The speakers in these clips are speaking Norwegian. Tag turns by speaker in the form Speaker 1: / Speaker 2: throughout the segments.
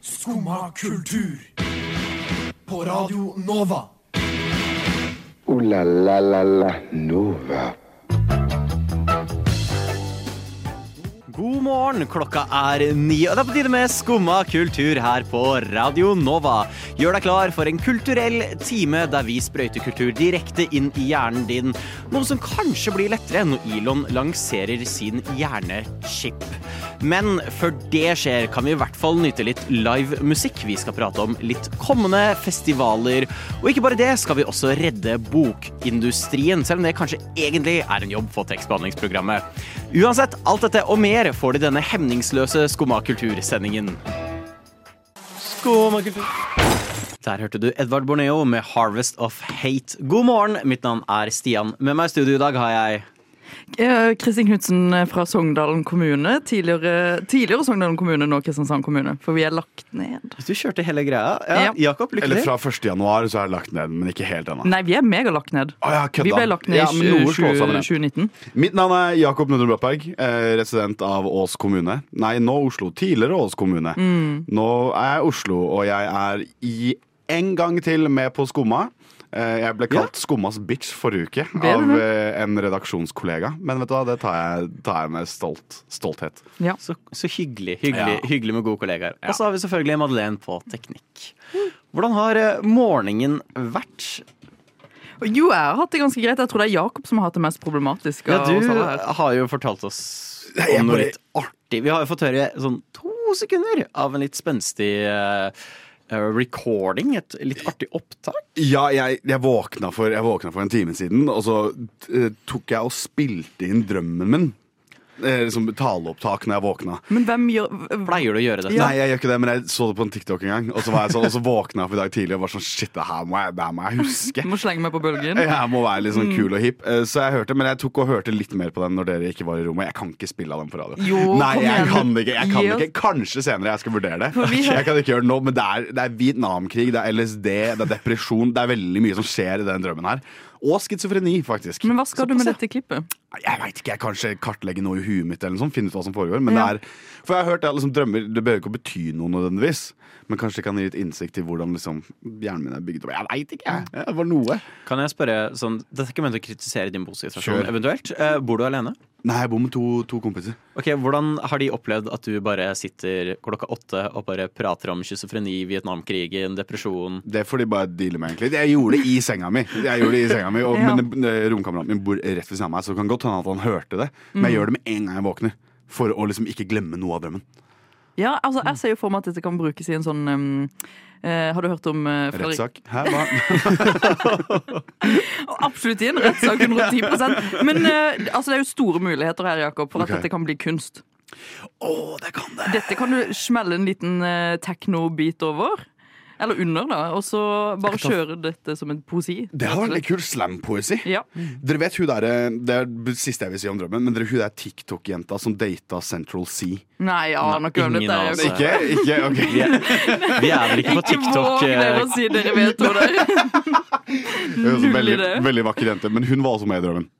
Speaker 1: Skumma kultur. På Radio Nova.
Speaker 2: Ooh la la la la Nova.
Speaker 3: God morgen, klokka er ni, og det er på tide med Skumma kultur her på Radio Nova. Gjør deg klar for en kulturell time der vi sprøyter kultur direkte inn i hjernen din. Noe som kanskje blir lettere når Elon lanserer sin hjernechip. Men før det skjer, kan vi i hvert fall nyte litt live musikk. Vi skal prate om litt kommende festivaler. Og ikke bare det, skal vi også redde bokindustrien, selv om det kanskje egentlig er en jobb for tekstbehandlingsprogrammet. Uansett, alt dette og mer får du i denne hemningsløse Skumma kultur-sendingen. Skumma kultur. Der hørte du Edvard Borneo med 'Harvest of Hate'. God morgen, mitt navn er Stian. Med meg i studio i dag har jeg
Speaker 4: Eh, Kristin Knutsen fra Sogndalen kommune. Tidligere, tidligere Sogndalen kommune, nå Kristiansand kommune. For vi er lagt ned.
Speaker 3: Du kjørte hele greia. Ja,
Speaker 4: Ja.
Speaker 3: Jakob, lykke
Speaker 5: Eller
Speaker 3: til.
Speaker 5: fra 1. januar så er det lagt ned, men ikke helt ennå.
Speaker 4: Nei, vi er megalagt ned.
Speaker 5: Å, ja, kødda.
Speaker 4: Vi ble lagt ned i
Speaker 5: Ja, men noe slår
Speaker 4: tjue-
Speaker 5: sammen, ja.
Speaker 4: 2019.
Speaker 5: Mitt navn er Jakob Nudel Brattberg, eh, resident av Ås kommune. Nei, nå Oslo. Tidligere Ås kommune.
Speaker 4: Mm.
Speaker 5: Nå er jeg Oslo, og jeg er i en gang til med på Skumma. Eh, jeg ble kalt Skummas bitch forrige uke
Speaker 4: Ble du
Speaker 5: av
Speaker 4: det?
Speaker 5: eh, en redaksjonskollega. Men vet du hva, det tar jeg, tar jeg med stolt, stolthet.
Speaker 4: Ja.
Speaker 3: Så, så hyggelig, hyggelig,
Speaker 5: Ja.
Speaker 3: hyggelig med gode kollegaer. Og så har vi selvfølgelig Madeleine på teknikk. Hvordan har eh, morgenen vært?
Speaker 4: Og Jo, jeg har hatt det ganske greit. Jeg tror det er Jakob som har hatt det mest problematiske.
Speaker 3: Ja,
Speaker 4: av
Speaker 3: du
Speaker 4: oss alle her.
Speaker 3: har jo fortalt oss
Speaker 5: Nei, jeg
Speaker 3: om noe
Speaker 5: bare-
Speaker 3: litt artig. Vi har jo fått høre sånn to sekunder av en litt spenstig eh, eh, recording. Et litt artig opptak.
Speaker 5: Ja, jeg, jeg, våkna for, jeg våkna for en time siden, og så eh, tok jeg og spilte inn drømmen min. Eh, liksom taleopptak når jeg våkna.
Speaker 4: Men hvem gjør
Speaker 3: Pleier du å gjøre dette?
Speaker 5: Nei, jeg gjør ikke det, men jeg så det på en TikTok en gang. Og så, var jeg sånn, og så våkna jeg opp i dag tidlig og var sånn Shit, det her må jeg, det her må jeg huske.
Speaker 4: Må slenge meg på bølgen.
Speaker 5: Jeg må være litt sånn kul og hip. Eh, Så jeg hørte, men jeg tok og hørte litt mer på den når dere ikke var i rommet. Jeg kan ikke spille av den på radio.
Speaker 4: Jo,
Speaker 5: Nei,
Speaker 4: kom
Speaker 5: jeg
Speaker 4: igjen.
Speaker 5: kan ikke. Jeg kan
Speaker 4: Gi oss-
Speaker 5: ikke. Kanskje senere jeg skal vurdere det.
Speaker 4: For vi har-
Speaker 5: Jeg kan ikke gjøre det nå, men det er, det er Vietnamkrig, det er LSD, det er depresjon. Det er veldig mye som skjer i den drømmen her. Og schizofreni, faktisk.
Speaker 4: Men hva skal du med dette klippet?
Speaker 5: Jeg veit ikke, jeg kanskje kartlegger noe i huet mitt, eller sånn, finne ut hva som foregår. Men
Speaker 4: Ja.
Speaker 5: det er, for jeg har hørt at liksom, drømmer det behøver ikke å bety noe nødvendigvis. Men kanskje det kan gi litt innsikt i hvordan liksom, hjernen min er bygd opp. Jeg veit ikke, jeg. Det var noe.
Speaker 3: Kan jeg spørre, sånn, Dette er ikke ment å kritisere din bosituasjon,
Speaker 5: Kjør.
Speaker 3: eventuelt. Eh, bor du alene?
Speaker 5: Nei, jeg bor med to, to kompiser.
Speaker 3: Ok, Hvordan har de opplevd at du bare sitter klokka åtte og bare prater om schizofreni, Vietnamkrigen, depresjon?
Speaker 5: Det får de bare deale med, egentlig. Jeg gjorde det i senga mi. Jeg gjorde det i senga mi og,
Speaker 4: Ja.
Speaker 5: Men eh, romkameraten min bor rett ved siden av meg, så det kan godt hende at han hørte det. Men
Speaker 4: Mm.
Speaker 5: jeg gjør det med en gang jeg våkner. For å liksom ikke glemme noe av drømmen.
Speaker 4: Ja, altså, Jeg ser jo for meg at dette kan brukes i en sånn um, eh, Har du hørt om eh, Fredrik
Speaker 5: Rettssak. Hæ, hva?
Speaker 4: Absolutt i en rettssak, 110 Men eh, altså, det er jo store muligheter her, Jakob, for at
Speaker 5: Ok.
Speaker 4: dette kan bli kunst.
Speaker 5: Å, det kan det!
Speaker 4: Dette kan du smelle en liten eh, techno-bit over. Eller under, da. Og så bare kjøre dette som en poesi.
Speaker 5: Det
Speaker 4: rett
Speaker 5: var
Speaker 4: og
Speaker 5: veldig
Speaker 4: slett.
Speaker 5: kul slam-poesi.
Speaker 4: Ja.
Speaker 5: Dere vet hun der, Det er det siste jeg vil si om drømmen, men dere hun der TikTok-jenta som data Central C.
Speaker 4: Nei, jeg aner ikke hvem
Speaker 3: Ingen
Speaker 4: dette er.
Speaker 3: av oss
Speaker 4: Jakob.
Speaker 5: Ikke? ikke, ok
Speaker 3: Vi er, vi er vel ikke på
Speaker 4: Ikke våg
Speaker 3: TikTok?
Speaker 4: dere
Speaker 3: eh,
Speaker 4: å si dere vet hva det er.
Speaker 5: Hun er også
Speaker 4: Null
Speaker 5: veldig,
Speaker 4: idé.
Speaker 5: veldig vakker jente, men hun var også med i drømmen.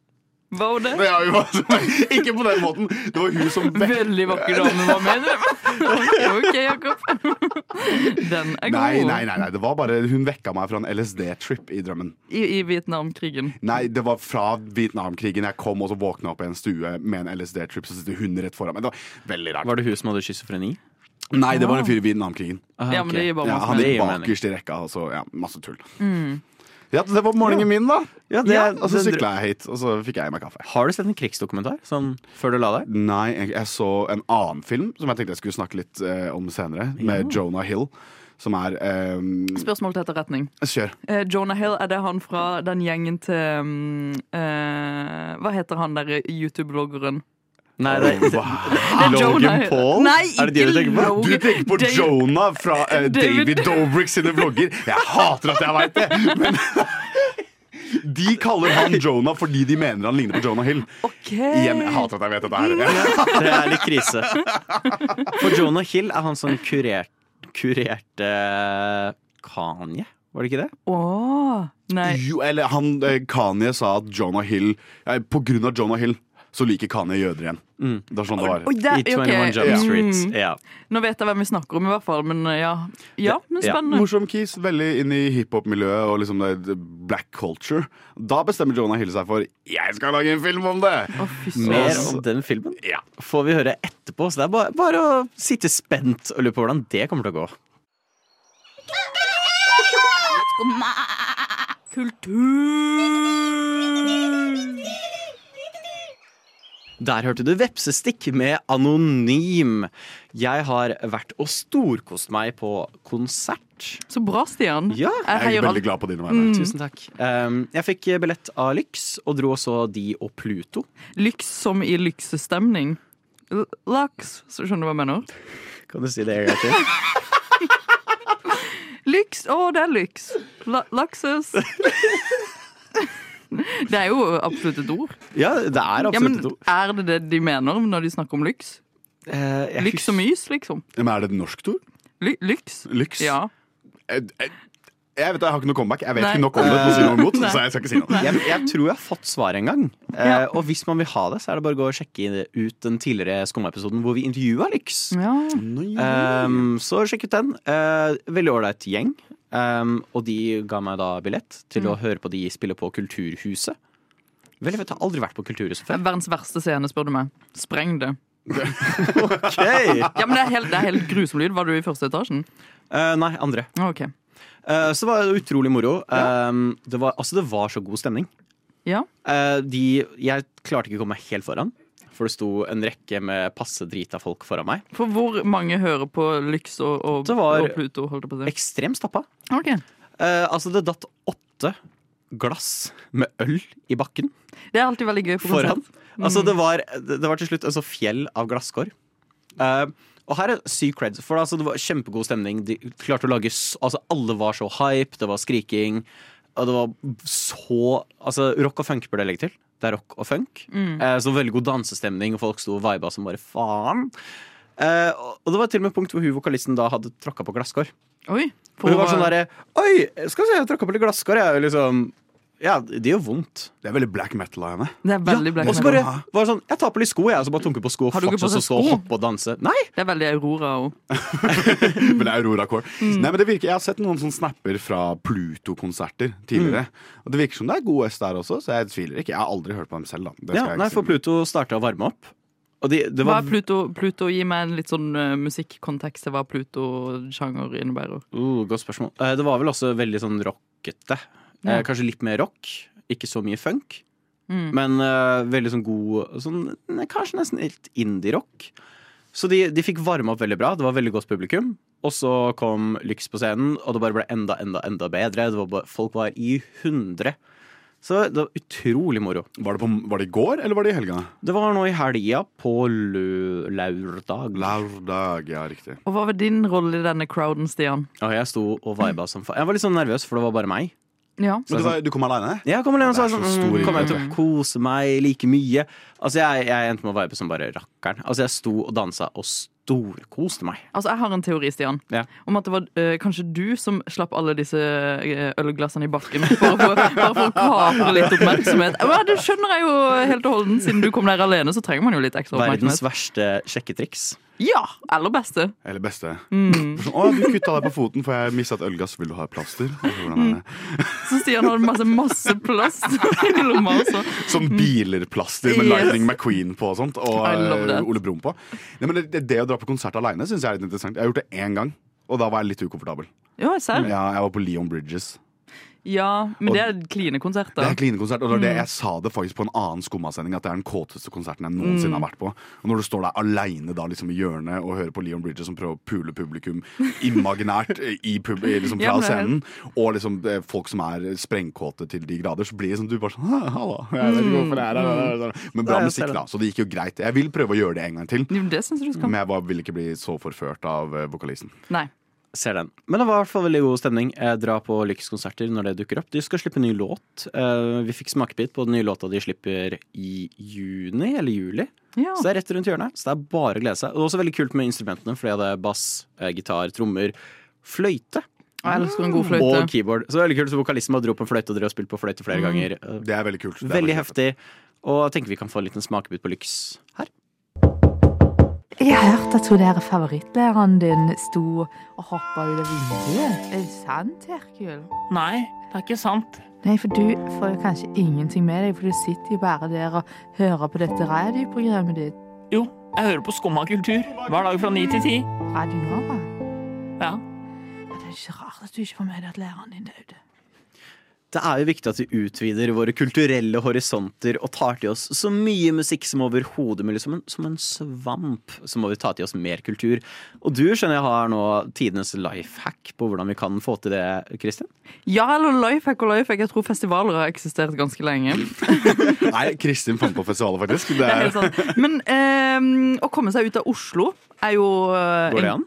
Speaker 4: Hva var det?
Speaker 5: Ja, hun var også med. Ikke på den måten! Det var hun som vekket
Speaker 4: Veldig vakker dame, hva mener du? OK, Jakob. Den er god.
Speaker 5: Nei, nei, nei, nei, det var bare hun vekka meg fra en LSD-trip i drømmen.
Speaker 4: I, I Vietnamkrigen.
Speaker 5: Nei, det var fra Vietnamkrigen. Jeg kom og så våkna opp i en stue med en LSD-trip, så sitter hun rett foran meg. Det var veldig rart.
Speaker 3: Var det hun som hadde schizofreni?
Speaker 5: Nei, det var en fyr i Vietnamkrigen.
Speaker 3: Ah,
Speaker 4: Ja, men
Speaker 3: ok.
Speaker 4: det gir bare
Speaker 5: Ja,
Speaker 4: masse
Speaker 5: han
Speaker 3: Det
Speaker 5: gikk
Speaker 3: gir mening.
Speaker 5: bakerst i rekka, og så ja, masse tull. Ja, det var morgenen min, da.
Speaker 3: Ja, det-
Speaker 5: Ja, altså og så
Speaker 3: det-
Speaker 5: sykla jeg hit, og så fikk jeg i meg kaffe.
Speaker 3: Har du sett en krigsdokumentar sånn, før du la deg?
Speaker 5: Nei, jeg, jeg så en annen film som jeg tenkte jeg skulle snakke litt eh, om senere, med Jonah Hill. Som er eh,
Speaker 4: Spørsmål til etterretning.
Speaker 5: Kjør.
Speaker 4: Eh, Jonah Hill, er det han fra den gjengen til mm, eh, Hva heter han derre YouTube-bloggeren?
Speaker 3: Nei, det,
Speaker 4: Jonah
Speaker 5: Logan
Speaker 4: Hill.
Speaker 5: Paul?
Speaker 4: Nei,
Speaker 3: Er det de du
Speaker 4: ikke
Speaker 3: tenker på?
Speaker 4: Logan.
Speaker 5: Du tenker på
Speaker 4: Dave-
Speaker 5: Jonah fra eh,
Speaker 4: David-
Speaker 5: David Dobrik sine vlogger. Jeg hater at jeg veit det! Men de kaller han Jonah fordi de mener han ligner på Jonah Hill.
Speaker 4: Ok.
Speaker 5: Igjen, jeg hater at jeg vet dette her.
Speaker 3: det er litt krise. For Jonah Hill er han som kurer- kurerte Kanye, var det ikke det?
Speaker 4: Åh, nei.
Speaker 5: Jo, eller han, eh, Kanye sa at Jonah Hill eh, På grunn av Jonah Hill så liker Kanye jøder igjen. Det er sånn det var.
Speaker 4: Oi, der,
Speaker 3: I 21
Speaker 4: ok,
Speaker 3: Jump Street.
Speaker 4: mm,
Speaker 3: Ja.
Speaker 4: Nå vet jeg hvem vi snakker om, i hvert fall. Men ja, ja men
Speaker 3: Ja.
Speaker 4: spennende.
Speaker 5: Morsom Keys, veldig inn i hiphop-miljøet og liksom det, det black culture. Da bestemmer Jonah Hill seg for 'jeg skal lage en film om det'!
Speaker 4: Å, fy søren.
Speaker 3: Mer om den filmen
Speaker 5: Ja.
Speaker 3: får vi høre etterpå, så det er bare, bare å sitte spent og lure på hvordan det kommer til å gå. Der hørte du Vepsestikk med Anonym. Jeg har vært og storkost meg på konsert.
Speaker 4: Så bra, Stian.
Speaker 3: Ja,
Speaker 4: jeg
Speaker 5: Jeg er
Speaker 4: heier
Speaker 5: veldig
Speaker 4: alltid
Speaker 5: glad på dine vegne.
Speaker 4: Mm.
Speaker 3: Tusen takk. Um, jeg fikk billett av Lyx, og dro også de og Pluto.
Speaker 4: lyks som i lyksestemning. L- Laks, så skjønner du hva jeg mener?
Speaker 3: Kan du si det en gang til?
Speaker 4: Lyks, å, det er lyks. La lakses. Det er jo absolutt et ord.
Speaker 3: Ja, det er
Speaker 4: Ja, men
Speaker 3: absolutt et ord.
Speaker 4: Er det det de mener når de snakker om lyks?
Speaker 3: Eh, jeg
Speaker 4: Lyks og mys, liksom.
Speaker 5: Men er det et norsk ord?
Speaker 4: Ly lyks.
Speaker 5: Lyks?
Speaker 4: Ja.
Speaker 5: Jeg, jeg, jeg vet det, jeg har ikke noe comeback. Jeg vet
Speaker 4: Nei.
Speaker 5: ikke nok om det, til å si noe imot,
Speaker 4: Nei.
Speaker 5: så jeg skal ikke si noe.
Speaker 3: Jeg, jeg tror jeg har fått svar en gang. Eh,
Speaker 4: Ja.
Speaker 3: Og hvis man vil ha det, så er det bare å gå og sjekke ut den tidligere Skumma-episoden hvor vi intervjua Lyx.
Speaker 4: ja.
Speaker 3: Um, så sjekk ut den. Eh, veldig ålreit gjeng. Um, og de ga meg da billett til å høre på de spille på Kulturhuset. Veldig fett, jeg har aldri vært på Kulturhuset før.
Speaker 4: Verdens verste scene, spør du meg. Spreng det.
Speaker 3: Okay.
Speaker 4: Ja, men Det er helt, det er helt grusom lyd. Var du i første etasjen?
Speaker 3: Eh, nei, andre.
Speaker 4: Ah, Ok.
Speaker 3: Eh, så det var det utrolig moro. Um, det, var, altså, det var så god stemning.
Speaker 4: Ja.
Speaker 3: Eh, de, jeg klarte ikke å komme meg helt foran, for det sto en rekke med passe drita folk foran meg.
Speaker 4: For hvor mange hører på Lyx og, og,
Speaker 3: Det var-
Speaker 4: og Pluto, holdt jeg på å si?
Speaker 3: Ekstremt stappa.
Speaker 4: Ok.
Speaker 3: Eh, altså, det datt åtte glass med øl i bakken
Speaker 4: Det er alltid veldig gøy på
Speaker 3: foran.
Speaker 4: konsert.
Speaker 3: Altså, det var, det det var til slutt altså, fjell av glasskår. Eh, og her er syk creds, for altså, det var kjempegod stemning. De klarte å lage s- altså, Alle var så hype, det var skriking. Og det var så Altså, rock og funk burde jeg legge til. Det er rock og funk. Eh, så veldig god dansestemning, og folk sto og viba som bare faen. Eh, og og det var til og med et punkt hvor hun vokalisten da hadde tråkka på glasskår.
Speaker 4: Oi.
Speaker 3: Og hun var
Speaker 4: For-
Speaker 3: sånn derre Oi, skal vi se, jeg tråkka på litt glasskår, jeg. Liksom. Ja, det gjør vondt.
Speaker 5: Det er veldig black metal av henne.
Speaker 4: Det er veldig black
Speaker 3: Og så
Speaker 4: metal.
Speaker 3: bare var det sånn Jeg tar på litt sko, jeg. Og så bare tunker på sko og
Speaker 4: Har du ikke på
Speaker 3: fortsatt
Speaker 4: deg
Speaker 3: så
Speaker 4: sko?
Speaker 3: hoppe og danse. Nei!
Speaker 4: Det er veldig Aurora òg.
Speaker 5: Men det er Aurora Core.
Speaker 3: Mm.
Speaker 5: Nei, men det virker, jeg har sett noen sånne snapper fra Pluto-konserter tidligere.
Speaker 3: Mm.
Speaker 5: Og det virker som det er god S der også, så jeg tviler ikke. Jeg har aldri hørt på dem selv, da. Det skal
Speaker 3: Ja,
Speaker 5: jeg ikke
Speaker 3: nei,
Speaker 5: si.
Speaker 3: for Pluto starta å varme opp. Og de, det
Speaker 4: Hva
Speaker 3: var
Speaker 4: er Pluto? Pluto, Gi meg en litt sånn eh, musikkontekst til hva Pluto-sjanger innebærer.
Speaker 3: uh, Godt spørsmål. Eh, Det var vel også veldig sånn rockete. Eh,
Speaker 4: Ja. Mm.
Speaker 3: Kanskje litt mer rock, ikke så mye funk. Men eh, veldig sånn god sånn, nei, Kanskje nesten litt indie-rock. Så de, de fikk varma opp veldig bra. Det var veldig godt publikum. Og så kom Lyx på scenen, og det bare ble enda, enda, enda bedre. Det var bare, folk var i hundre. Så det var utrolig moro.
Speaker 5: Var det, på, var det i går, eller var det i helga?
Speaker 3: Det var nå i helga på lø lørdag.
Speaker 5: Lørdag, ja, riktig.
Speaker 4: Og hva var din rolle i denne crowden, Stian?
Speaker 3: Og jeg sto og viba som faen. Jeg var litt sånn nervøs, for det var bare meg.
Speaker 4: Ja.
Speaker 5: Men du, var, du kom aleine?
Speaker 3: Jeg kom alene,
Speaker 5: Det
Speaker 3: så
Speaker 5: er
Speaker 3: jeg
Speaker 5: så
Speaker 3: sånn,
Speaker 5: stor
Speaker 3: mm, kommer jeg til å
Speaker 5: idrett.
Speaker 3: kose meg like mye? Altså, jeg, jeg endte med å vibe som bare rakkeren. Altså, jeg sto og dansa og storkoste meg.
Speaker 4: Altså, Jeg har en teori, Stian,
Speaker 3: Ja.
Speaker 4: om at det var eh, kanskje du som slapp alle disse eh, ølglassene i bakken. For, å få- bare for å kapre litt oppmerksomhet. Ja, det skjønner jeg jo helt og holdent. Siden du kom der alene, så trenger man jo litt ekstra
Speaker 3: Verdens
Speaker 4: oppmerksomhet.
Speaker 3: verste sjekketriks.
Speaker 4: Ja, Eller beste.
Speaker 5: Eller beste.
Speaker 3: Mm.
Speaker 5: Sånn, å, du kutta deg på foten, for jeg mista et ølgass. Vil du ha et plaster? Eller hvordan er det?
Speaker 4: Så Stian hadde masse, masse plast i lomma altså. også.
Speaker 5: Som Sånn bilerplaster med
Speaker 4: Mhm. Yes.
Speaker 5: Lightning McQueen på og sånt. Og
Speaker 4: I love that.
Speaker 5: eh, Ole Brumm på. Nei, men det, det å dra på konsert aleine syns jeg er litt interessant. Jeg har gjort det én gang, og da var jeg litt ukomfortabel.
Speaker 4: Ja, serr.
Speaker 5: Ja, jeg var på Leon Bridges.
Speaker 4: Ja, men det er kline konserter.
Speaker 5: Det er klinekonsert, og det var det jeg sa det faktisk på en annen skummasending, at det er den kåteste konserten jeg noensinne har vært på. Og når du står der aleine da, liksom i hjørnet og hører på Leon Bridges som prøver å pule publikum imaginært eh, i pub, eh, liksom fra
Speaker 4: Ja, men det er
Speaker 5: scenen, og liksom eh, folk som er sprengkåte til de grader, så blir det sånn du bare sånn «Hæ, Halla, jeg vet ikke hvorfor jeg er her. Men bra
Speaker 3: Ja, jeg ser
Speaker 5: musikk,
Speaker 3: det.
Speaker 5: da, så det gikk jo greit. Jeg vil prøve å gjøre det en gang til,
Speaker 4: Jo, det syns jeg du skal.
Speaker 5: men jeg var, vil ikke bli så forført av eh, vokalisten.
Speaker 4: Nei.
Speaker 3: Ser den. Men det var i hvert fall veldig god stemning. Eh, Dra på Lyx-konserter når det dukker opp. De skal slippe ny låt. Eh, Vi fikk smakebit på den nye låta de slipper i juni eller juli.
Speaker 4: Ja.
Speaker 3: Så det er rett rundt hjørnet. Så det er bare å glede seg. Og det er også veldig kult med instrumentene, for jeg hadde bass, eh, gitar, trommer, fløyte
Speaker 4: Og jeg elsker en god fløyte.
Speaker 3: og keyboard. Så det er veldig kult, så vokalisten bare dro på en fløyte og drev og spilte på fløyte flere ganger. Eh,
Speaker 5: Det er veldig kult. Det er
Speaker 3: Veldig
Speaker 5: veldig kult.
Speaker 3: heftig. Og tenker vi kan få en liten smakebit på Lyx her.
Speaker 6: Jeg har hørt at hun der favorittlæreren din sto og hoppa ut av vinduet. Er det sant, Herkul?
Speaker 7: Nei, det er ikke sant.
Speaker 6: Nei, for du får jo kanskje ingenting med deg, for du sitter jo bare der og hører på dette radioprogrammet ditt.
Speaker 7: Jo, jeg hører på Skumma kultur hver dag fra ni til ti.
Speaker 6: Radio Nova.
Speaker 7: Ja.
Speaker 6: Ja, Det er ikke rart at du ikke får med deg at læreren din døde.
Speaker 3: Det er jo viktig at vi utvider våre kulturelle horisonter og tar til oss så mye musikk som overhodet mulig. Som en, som en svamp så må vi ta til oss mer kultur. Og du skjønner jeg har nå tidenes life hack på hvordan vi kan få til det, Kristin?
Speaker 4: Ja, eller lifehack og lifehack. Jeg tror festivaler har eksistert ganske
Speaker 3: Mm.
Speaker 4: lenge.
Speaker 5: Nei, Kristin fant på festivalet, faktisk. Det
Speaker 4: Det er
Speaker 5: er,
Speaker 4: helt sant. Men eh, å komme seg ut av Oslo er jo eh,
Speaker 3: Går det
Speaker 4: en-
Speaker 3: an?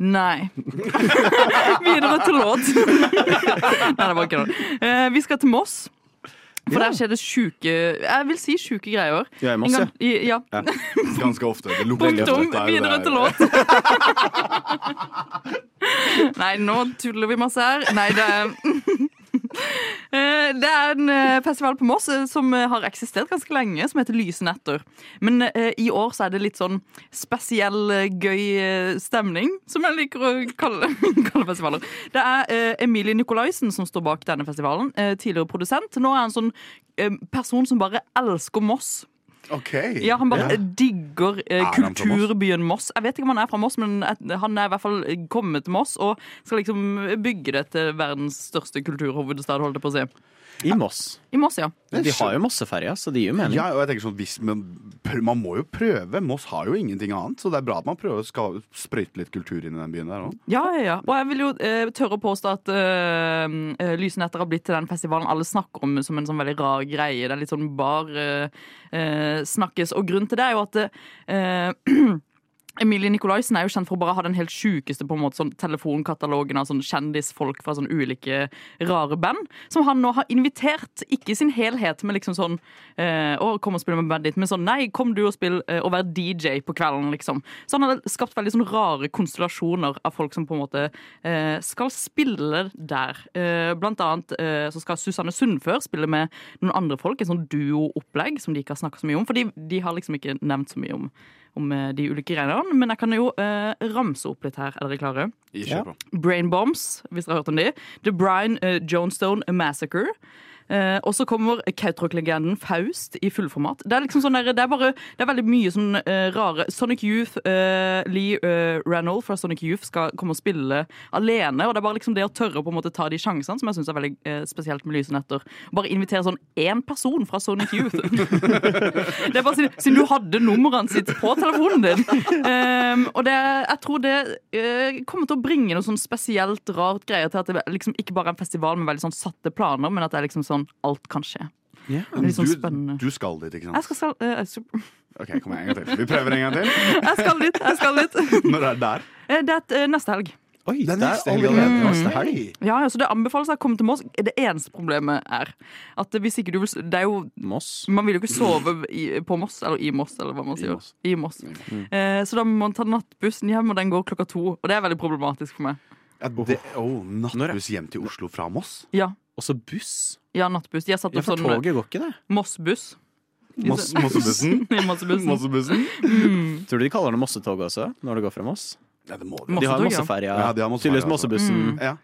Speaker 4: Nei. Videre til låt. Nei, det var ikke det. Eh, vi skal til Moss. For der skjer det sjuke Jeg vil si sjuke greier.
Speaker 3: Ja, i Moss,
Speaker 4: En gang- i- ja.
Speaker 5: ja, ganske ofte. Det lukter
Speaker 4: Punktum.
Speaker 5: dette her, det
Speaker 4: Videre
Speaker 5: er-
Speaker 4: til låt. Nei, nå tuller vi masse her. Nei, det er Eh, Det er en eh, festival på Moss eh, som eh, har eksistert ganske lenge, som heter Lyse netter. Men eh, i år så er det litt sånn spesiell, eh, gøy eh, stemning, som jeg liker å kalle, kalle festivaler. Det er eh, Emilie Nikolaisen som står bak denne festivalen. eh, Tidligere produsent. Nå er han sånn eh, person som bare elsker Moss.
Speaker 5: Ok.
Speaker 4: Ja, Han bare digger eh,
Speaker 5: han fra Moss?
Speaker 4: kulturbyen Moss. Jeg vet ikke om han er fra Moss, men et- han er i hvert fall eh, kommet til Moss og skal liksom bygge det til verdens største kulturhovedstad, holdt jeg på å si.
Speaker 3: I Moss.
Speaker 4: I Moss, ja.
Speaker 3: De har jo Mosseferja, så det gir jo mening.
Speaker 5: Ja, og jeg tenker sånn, hvis, men pr- Man må jo prøve. Moss har jo ingenting annet. Så det er bra at man prøver å ska- sprøyte litt kultur inn i den byen der òg.
Speaker 4: Ja, ja, ja. Og jeg vil jo eh, tørre å påstå at eh, eh, Lysnetter har blitt til den festivalen alle snakker om som en sånn veldig rar greie. Det er litt sånn bar eh, eh, snakkes. Og grunnen til det er jo at eh, Emilie Nikolaisen er jo kjent for å bare ha den helt sjukeste på en måte, sånn telefonkatalogen av sånn kjendisfolk fra sånn ulike rare band, som han nå har invitert, ikke i sin helhet, men liksom sånn eh, Å, kom og spill med bandet ditt, men sånn Nei, kom du og spill eh, og vær DJ på kvelden, liksom. Så han har skapt veldig sånn rare konstellasjoner av folk som på en måte eh, skal spille der. Eh, blant annet eh, så skal Susanne Sundfør spille med noen andre folk, en sånn duo-opplegg som de ikke har snakket så mye om, for de, de har liksom ikke nevnt så mye om om eh, de ulike greiene, men jeg kan jo eh, ramse opp litt her. Er dere klare?
Speaker 5: Kjør på.
Speaker 4: Brain Bombs, hvis dere har hørt om de. The Brian eh, Johnstone Massacre. Eh, og så kommer Kautokeino-legenden Faust i fullformat. Det er liksom sånn der, det er bare Det er veldig mye sånn eh, rare Sonic Youth, eh, Lee eh, Reynold fra Sonic Youth skal komme og spille alene. Og det er bare liksom det å tørre å på en måte ta de sjansene som jeg syns er veldig eh, spesielt med Lyse netter. Bare invitere sånn én person fra Sonic Youth. Det er bare siden, siden du hadde nummeret sitt på telefonen din. Ehm, og det, jeg tror det eh, kommer til å bringe noe sånn spesielt rart greier til at det liksom ikke bare er en festival med veldig sånn satte planer, men at det er liksom sånn alt kan skje. Det er litt sånn spennende.
Speaker 5: Du, du skal dit, ikke
Speaker 4: Jeg
Speaker 5: sant?
Speaker 4: skal, skal, eh, jeg skal-
Speaker 5: Ok, kom igjen, en gang til. Vi prøver en gang til.
Speaker 4: jeg skal dit! Jeg skal dit.
Speaker 5: Når er det der?
Speaker 4: Eh, Det er et, eh, neste helg.
Speaker 3: Oi,
Speaker 5: Det er neste helg
Speaker 3: allerede
Speaker 5: allerede.
Speaker 3: neste helg.
Speaker 4: Ja, ja, så Det anbefales å komme til Moss. Det eneste problemet er at hvis ikke du vil s- Det er jo
Speaker 3: Moss.
Speaker 4: Man vil jo ikke sove i, på Moss, eller i Moss, eller hva man sier.
Speaker 5: Moss.
Speaker 4: I Moss. Eh, så da må man ta nattbussen hjem, og den går klokka to. Og det er veldig problematisk for meg.
Speaker 5: Ja, det, oh, nattbuss hjem til Oslo fra Moss?
Speaker 4: Ja,
Speaker 3: Også buss.
Speaker 4: ja nattbuss. De har satt
Speaker 3: Ja,
Speaker 4: opp
Speaker 3: for
Speaker 4: sånn
Speaker 3: toget går ikke det.
Speaker 4: Moss-buss.
Speaker 5: Moss- Mossebussen?
Speaker 4: I Mossebussen.
Speaker 5: Mossebussen?
Speaker 3: Tror du de kaller det Mossetoget også? når det går fra Moss?
Speaker 5: Ja, det må
Speaker 4: Moss-
Speaker 5: det.
Speaker 3: De har
Speaker 4: Mossetog, ja.
Speaker 3: Mosseferja.
Speaker 5: Ja, de har Mosseferja,
Speaker 3: Tydeligvis
Speaker 5: altså.
Speaker 3: Mossebussen.
Speaker 5: Ja.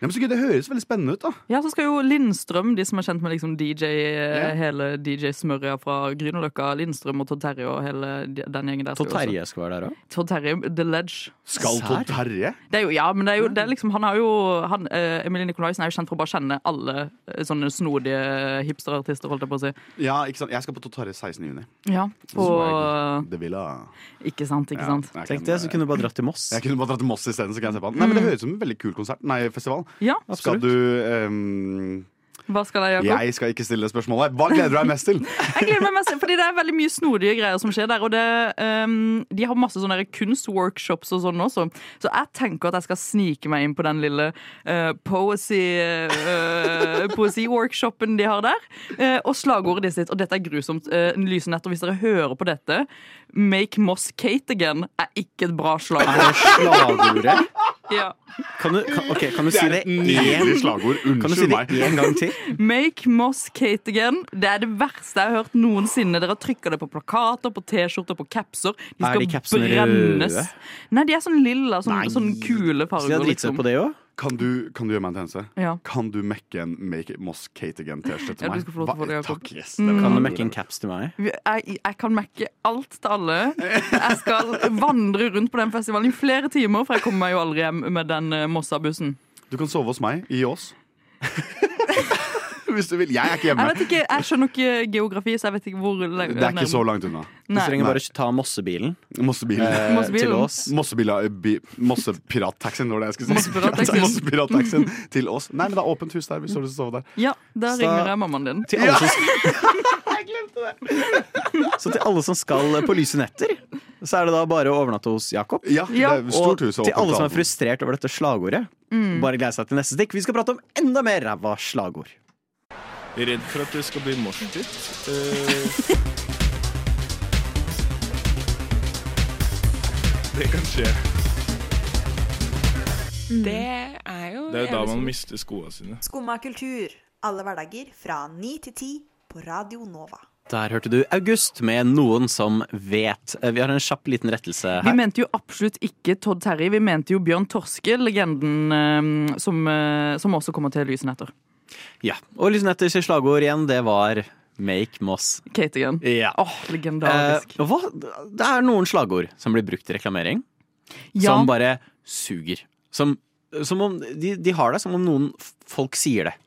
Speaker 5: Ja, men så gøy, det høres veldig spennende ut, da.
Speaker 4: Ja, så skal jo Lindstrøm, de som er kjent med liksom DJ, eh, hele DJ-smørja fra Grünerløkka, Lindstrøm og Todd Terje og hele de- den gjengen der. skal
Speaker 3: Todd
Speaker 4: jo også-
Speaker 3: Terje skal være der òg.
Speaker 4: Todd Terje, The Ledge.
Speaker 5: Skal
Speaker 3: Sær.
Speaker 5: Todd Terje?
Speaker 4: Det er jo, ja, men det er jo, det er liksom, han har jo han, eh, Emilie Nikolaisen er jo kjent for å bare kjenne alle eh, sånne snodige hipsterartister, holdt jeg på å si.
Speaker 5: Ja, ikke sant? Jeg skal på Todd Terje 16. juni.
Speaker 4: Ja, på,
Speaker 5: Det vil jeg. eh,
Speaker 4: Ikke sant, ikke sant.
Speaker 5: Ja, jeg
Speaker 3: Tenk
Speaker 5: kan-
Speaker 3: det, så kunne du bare dratt til Moss.
Speaker 5: Jeg kunne bare dratt til Moss isteden, så kan jeg se på han. Nei, men Det høres ut som en veldig kul konsert. Nei, festival.
Speaker 4: Mm. Ja,
Speaker 5: Skal
Speaker 3: Absolutt.
Speaker 5: du ehm,
Speaker 4: Hva skal jeg gjøre?
Speaker 5: Jeg skal ikke stille det spørsmålet. Hva gleder du deg mest til?
Speaker 4: Jeg gleder meg mest, fordi det er veldig mye snodige greier som skjer der. Og det, ehm, de har masse sånne der kunstworkshops og sånn også. Så jeg tenker at jeg skal snike meg inn på den lille eh, poesy, eh, poesiworkshopen de har der. Eh, og slagordet ditt sitt, og dette er grusomt. Uh, Lyse netter, hvis dere hører på dette, Make Moss Kate again er ikke et bra slagord.
Speaker 3: Slagordet
Speaker 4: Ja.
Speaker 3: Kan du, kan, ok, kan du si det én
Speaker 5: Nydelig slagord.
Speaker 3: Kan du si
Speaker 5: Unnskyld
Speaker 3: det
Speaker 5: meg.
Speaker 3: én gang til?
Speaker 4: Make Moss Kate again. Det er det verste jeg har hørt noensinne. Dere trykker det på plakater, på T-skjorter, på capser. De
Speaker 3: Er
Speaker 4: skal
Speaker 3: de capsene
Speaker 4: brennes.
Speaker 3: røde?
Speaker 4: Nei, de er sånn lilla, sånn,
Speaker 5: Nei.
Speaker 4: sånn kule
Speaker 3: Så de har
Speaker 4: farger. liksom.
Speaker 3: dritsøtt på det òg?
Speaker 5: Kan du, kan du gjøre meg en tjeneste?
Speaker 4: Ja.
Speaker 5: Kan du mekke en Make It Moss Kate Again-T-skjorte
Speaker 4: Ja,
Speaker 5: til
Speaker 4: du
Speaker 5: meg?
Speaker 4: skal få lov til å få det,
Speaker 5: Hva-
Speaker 4: Jakob. Mm.
Speaker 5: Takk, yes. det var-
Speaker 3: Kan du mekke en caps til meg?
Speaker 4: Jeg, jeg kan mekke alt til alle. Jeg skal vandre rundt på den festivalen i flere timer, for jeg kommer meg jo aldri hjem med den eh, Mossa-bussen.
Speaker 5: Du kan sove hos meg i Ås. Hvis du vil. Jeg er ikke
Speaker 4: Jeg
Speaker 5: hjemme.
Speaker 4: vet ikke, jeg skjønner ikke geografi, så jeg vet ikke hvor
Speaker 5: Det er ikke så langt unna.
Speaker 3: Du
Speaker 4: Nei.
Speaker 3: trenger bare ta Mossebilen
Speaker 5: Mossebilen.
Speaker 3: eh,
Speaker 4: Mossebilen.
Speaker 3: til oss.
Speaker 5: Mossebila- bi- Mossepirattaxien, var det jeg skulle si.
Speaker 4: Mossepirat-taxien.
Speaker 5: Mossepirattaxien til oss. Nei, men det er åpent hus der. Hvis du har lyst til å sove der.
Speaker 4: Ja, da
Speaker 3: Så-
Speaker 4: ringer jeg mammaen din.
Speaker 3: Til alle som Så til alle som skal på lyse netter, så er det da bare å overnatte hos Jakob.
Speaker 5: Ja,
Speaker 4: Ja,
Speaker 5: det er
Speaker 3: Og
Speaker 5: stort
Speaker 3: til
Speaker 5: hus og
Speaker 3: alle som er
Speaker 5: åpent.
Speaker 3: frustrert over dette slagordet, bare glede seg til neste stikk. Vi skal prate om enda mer ræva slagord.
Speaker 8: Redd for at det skal bli Eh, morsdytt. det kan skje.
Speaker 9: Mm.
Speaker 10: Det er jo
Speaker 8: Det er da man mister skoene sine.
Speaker 11: Skumma kultur. Alle hverdager fra 9 til 10 på Radio Nova.
Speaker 3: Der hørte du August med Noen som vet. Eh, Vi har en kjapp liten rettelse
Speaker 4: Vi
Speaker 3: her.
Speaker 4: mente jo absolutt ikke Todd Terry, vi mente jo Bjørn Torske, legenden eh, som, eh, som også kommer til Lysen etter.
Speaker 3: Ja. Og Lyse netters slagord igjen, det var Make Moss.
Speaker 4: Kate igjen.
Speaker 3: Ja.
Speaker 4: Åh, legendarisk.
Speaker 3: Eh, hva? Det er noen slagord som blir brukt i reklamering,
Speaker 4: ja,
Speaker 3: som bare suger. Som, som om de, de har det som om noen f- folk sier det.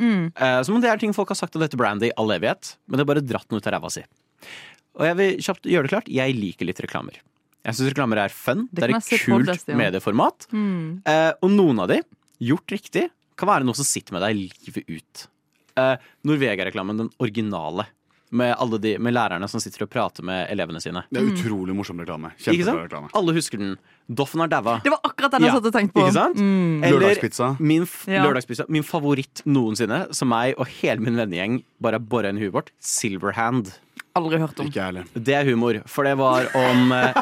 Speaker 4: Mm.
Speaker 3: Eh, som om det er ting folk har sagt om dette brandet i all evighet, men det er bare dratt noe ut av ræva si. Og jeg vil kjapt gjøre det klart, jeg liker litt reklamer. Jeg syns reklamer er fun, det,
Speaker 4: Det
Speaker 3: er
Speaker 4: kan jeg
Speaker 3: et
Speaker 4: se på Mm.
Speaker 3: kult
Speaker 4: deg, Stian.
Speaker 3: medieformat. Eh, og noen av de, gjort riktig, kan være noe som sitter med deg livet ut. Eh, Norvegia-reklamen, den originale, med, alle de, med lærerne som sitter og prater med elevene sine.
Speaker 5: Det er
Speaker 4: Mm.
Speaker 5: utrolig morsom reklame.
Speaker 3: Ikke
Speaker 5: Kjempebra
Speaker 3: sant?
Speaker 5: reklame.
Speaker 3: Alle husker den. Doffen har daua.
Speaker 4: det var akkurat den jeg
Speaker 3: Ja,
Speaker 4: satt og tenkte på. Mm,
Speaker 3: Ikke sant?
Speaker 5: Lørdagspizza.
Speaker 3: Min, f-
Speaker 4: Ja.
Speaker 3: lørdagspizza, min favoritt noensinne, som meg og hele min vennegjeng bare har bora inn i huet vårt, Silverhand.
Speaker 4: Aldri hørt om.
Speaker 5: Ikke jeg heller.
Speaker 3: Det er humor, for det var om eh,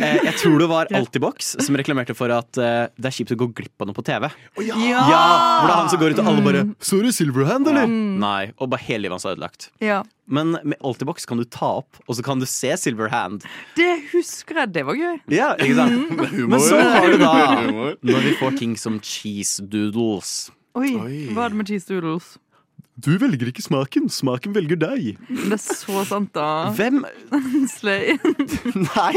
Speaker 3: eh, Jeg tror det var Altibox som reklamerte for at eh, det er kjipt å gå glipp av noe på TV.
Speaker 4: Ja!
Speaker 3: Ja, Hvor det er han som går ut og alle bare
Speaker 4: Mm.
Speaker 3: Så du Silverhand, eller? Nei. Og bare hele livet hans er ødelagt.
Speaker 4: Ja.
Speaker 3: Men med Altibox kan du ta opp, og så kan du se Silverhand.
Speaker 4: Det husker jeg. Det var gøy.
Speaker 3: Ja, ikke sant?
Speaker 4: Mm.
Speaker 3: Men så har du da når vi får ting som cheese doodles.
Speaker 4: Oi,
Speaker 5: Oi.
Speaker 4: Hva er det med cheese doodles?
Speaker 3: Du velger ikke smaken, smaken velger deg.
Speaker 4: Det er så sant, da.
Speaker 3: Hvem
Speaker 4: Slay.
Speaker 3: Nei!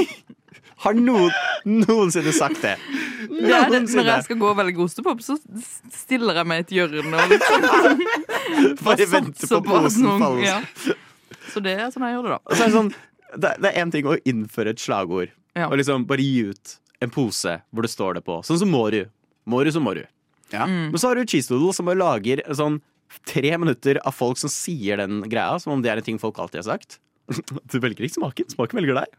Speaker 3: Har noen noensinne sagt det?
Speaker 4: Det er det. Når
Speaker 3: Noensinne.
Speaker 4: jeg skal gå og velge ostepop, så s- stiller jeg meg i et hjørne og sånn liksom
Speaker 3: Bare vente
Speaker 4: satser
Speaker 3: på
Speaker 4: at
Speaker 3: posen
Speaker 4: noen-
Speaker 3: faller.
Speaker 4: Ja. Så det er sånn jeg gjør det, da.
Speaker 3: Og så er det, sånn, det, det er én ting å innføre et slagord
Speaker 4: Ja.
Speaker 3: og liksom bare gi ut en pose hvor det står det på. Sånn som Mårud. Mårud som Mårud.
Speaker 5: Ja.
Speaker 4: Mm.
Speaker 3: Men så har du Cheese Doodle som bare lager sånn tre minutter av folk som sier den greia, som om det er en ting folk alltid har sagt. Du velger ikke smaken. Smaken velger deg.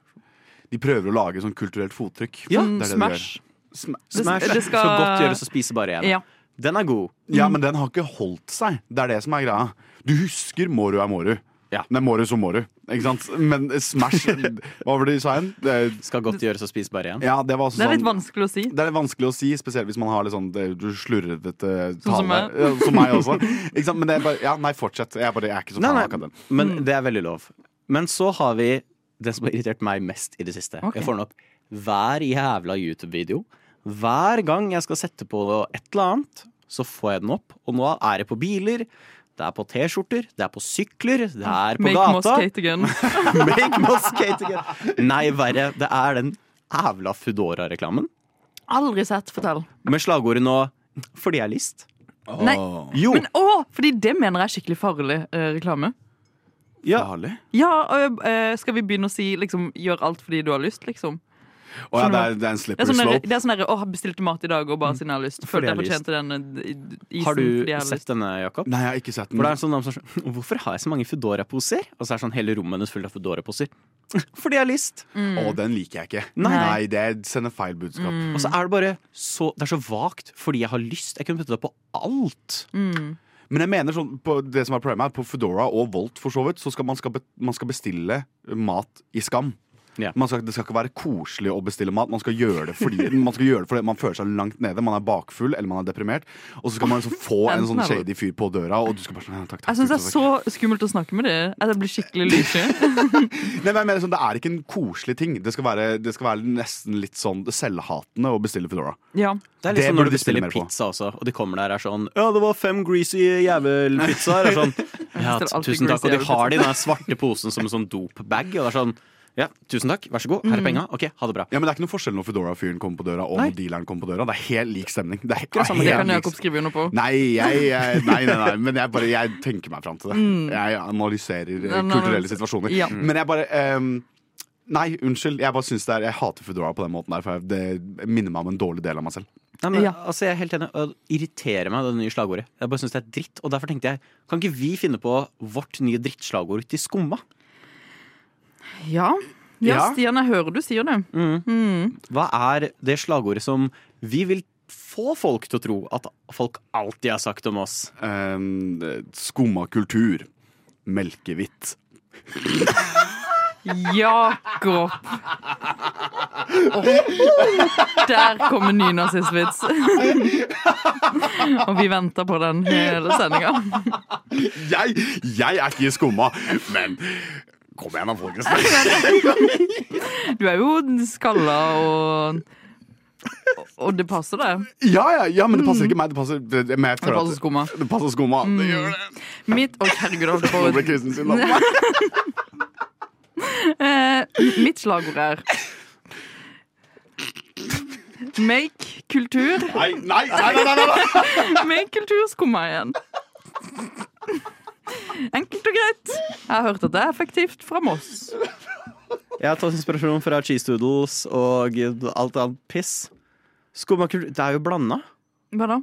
Speaker 5: De prøver å lage sånn kulturelt fottrykk.
Speaker 3: Ja,
Speaker 5: det er det de
Speaker 4: Mm, Smash.
Speaker 5: gjør. Sma-
Speaker 4: Det-
Speaker 3: Smash
Speaker 4: det
Speaker 3: skal...
Speaker 4: skal-
Speaker 3: godt gjøres å spise bare igjen.
Speaker 4: Ja.
Speaker 3: Den er god.
Speaker 5: Ja, men den har ikke holdt seg. Det er det som er greia. Du husker Mårud er Mårud.
Speaker 3: Ja.
Speaker 5: Nei, Mårud som Mårud. Ikke sant? Men Smash Hva var det de sa igjen? Det-
Speaker 3: Skal godt gjøres å spise bare igjen.
Speaker 5: Ja, det var
Speaker 4: Det er litt
Speaker 5: sånn
Speaker 4: vanskelig å si.
Speaker 5: det er litt vanskelig å si, spesielt hvis man har litt sånn det- du slurvete
Speaker 3: Sånn
Speaker 5: tale.
Speaker 4: som meg.
Speaker 5: Ja, som meg også. Ikke sant? Men det er bare, ja, nei, fortsett. Jeg, er bare, jeg er ikke så fan
Speaker 3: Nei,
Speaker 5: av
Speaker 3: nei,
Speaker 5: akkurat den.
Speaker 3: Men
Speaker 4: Mm.
Speaker 3: det er veldig lov. Men så har vi den som har irritert meg mest i det siste.
Speaker 4: Ok.
Speaker 3: Jeg får den opp hver jævla YouTube-video. Hver gang jeg skal sette på et eller annet, så får jeg den opp. Og nå er det på biler, det er på T-skjorter, det er på sykler, det er på
Speaker 4: Make Moss
Speaker 3: gata.
Speaker 4: Kate again.
Speaker 3: Make Moss Kate again. Nei, verre. Det er den jævla Foodora-reklamen
Speaker 4: Aldri sett, fortell.
Speaker 3: med slagordet nå 'fordi jeg er list'.
Speaker 4: Nei,
Speaker 3: Jo,
Speaker 4: men å, fordi det mener jeg er skikkelig farlig eh, reklame.
Speaker 3: ja.
Speaker 5: Farlig.
Speaker 4: Ja, ø, ø, skal vi begynne å si liksom, 'gjør alt fordi du har lyst', liksom?
Speaker 5: Å ja, det er, det er en
Speaker 4: Det
Speaker 5: slippery
Speaker 4: er sånn derre-
Speaker 5: slope.
Speaker 4: det er sånn derre 'å, jeg bestilte mat i dag, og bare siden jeg har lyst'.
Speaker 3: Mm. Fordi
Speaker 4: Følte jeg
Speaker 3: jeg har lyst.
Speaker 4: fortjente den ø, d- isen
Speaker 3: Har du
Speaker 4: fordi jeg har lyst.
Speaker 3: sett denne, Jakob?
Speaker 5: Nei, jeg har ikke sett den.
Speaker 3: For det er en sånn dame som er sånn Hvorfor har jeg så mange Foodora-poser? Og så er sånn hele rommet hennes fullt av Foodora-poser. Fordi jeg har lyst.
Speaker 5: Å, den liker jeg ikke.
Speaker 3: Nei. Mm.
Speaker 5: Nei, det sender feil budskap.
Speaker 3: Og så er det bare så Det er så vagt fordi jeg har lyst. Jeg kunne puttet det på alt.
Speaker 5: Men jeg mener sånn, på det som er problemet er at på Foodora og Volt for så vidt, så skal man, skal be, man skal bestille mat i skam.
Speaker 3: Ja.
Speaker 5: Man skal, det skal ikke være koselig å bestille mat. Man skal gjøre det fordi man, skal gjøre det fordi man føler seg langt nede. Man er bakfull eller man er deprimert. Og så skal man liksom få en sånn
Speaker 4: Enten eller.
Speaker 5: shady fyr på døra, og du skal bare sånn ja, takk, takk,
Speaker 4: Jeg syns det
Speaker 5: takk,
Speaker 4: er
Speaker 5: takk,
Speaker 4: så skummelt å snakke med dere. At jeg blir skikkelig lyssky.
Speaker 5: Nei, men jeg mener sånn, Det er ikke en koselig ting. Det skal være, det skal være nesten litt sånn selvhatende å bestille Foodora.
Speaker 4: Ja.
Speaker 3: Det er litt
Speaker 5: Det
Speaker 3: sånn når du
Speaker 5: burde de
Speaker 3: bestiller
Speaker 5: spille mer på.
Speaker 3: pizza også, og de kommer der og er sånn Ja, det var fem greasy jævelpizzaer. og Sånn, ja,
Speaker 4: bestiller alltid
Speaker 3: tusen takk. Og de
Speaker 4: greasy
Speaker 3: har det i den der svarte posen som en sånn dopbag. Og det er sånn Ja, tusen takk, vær så god, her er penga. Ok, ha det bra.
Speaker 5: Ja, men Det er ikke noe forskjell når Foodora-fyren kommer på døra og
Speaker 3: Nei.
Speaker 5: når dealeren kommer på døra. Det er helt lik stemning. Det er helt,
Speaker 4: Det samme, det
Speaker 5: helt
Speaker 4: kan
Speaker 5: lik
Speaker 4: Jakob skrive under på.
Speaker 5: Nei, jeg, jeg, nei, nei, nei, men jeg, bare, jeg tenker meg fram til det. Jeg analyserer
Speaker 4: Mm.
Speaker 5: eh,
Speaker 4: Nei, nei,
Speaker 5: kulturelle
Speaker 4: men-
Speaker 5: situasjoner.
Speaker 4: Ja.
Speaker 5: Men jeg bare ehm, Nei, unnskyld. Jeg bare synes det er, jeg hater Foodora på den måten der, for jeg, det minner meg om en dårlig del av meg selv.
Speaker 3: Nei, men,
Speaker 4: Ja.
Speaker 3: altså, jeg er helt enig. og Det irriterer meg, det nye slagordet. Jeg bare syns det er dritt. Og derfor tenkte jeg, kan ikke vi finne på vårt nye drittslagord til Skumma?
Speaker 4: Ja. ja,
Speaker 5: Ja.
Speaker 4: Stian, jeg hører du sier det.
Speaker 3: Hva er det slagordet som vi vil få folk til å tro at folk alltid har sagt om oss?
Speaker 5: Um, Skumma kultur. Melkehvitt.
Speaker 4: Jakob! Åh, der kom en ny nazistvits. Og vi venter på den hele sendinga.
Speaker 5: Jeg, jeg er ikke i skumma, men Kom igjen, da, folkens.
Speaker 4: Du er jo skalla og Og det passer, det.
Speaker 5: Ja, ja, ja, men det passer ikke meg. Det passer, men jeg føler
Speaker 4: Mm. passer
Speaker 5: at-
Speaker 4: skumma.
Speaker 5: Det passer skumma. Det gjør det.
Speaker 4: Mitt Å, herregud, jeg holdt på å-
Speaker 5: Nå ble Kristin sin da.
Speaker 4: Eh, mitt slagord er Make kultur
Speaker 5: Nei, nei, nei, nei, nei, nei.
Speaker 4: Make kultur skumma igjen. Enkelt og greit. Jeg har hørt at det er effektivt fra Moss.
Speaker 3: Jeg har tatt inspirasjon fra cheese doodles og alt annet piss. Skummakultur Det er jo blanda.
Speaker 4: Hva da?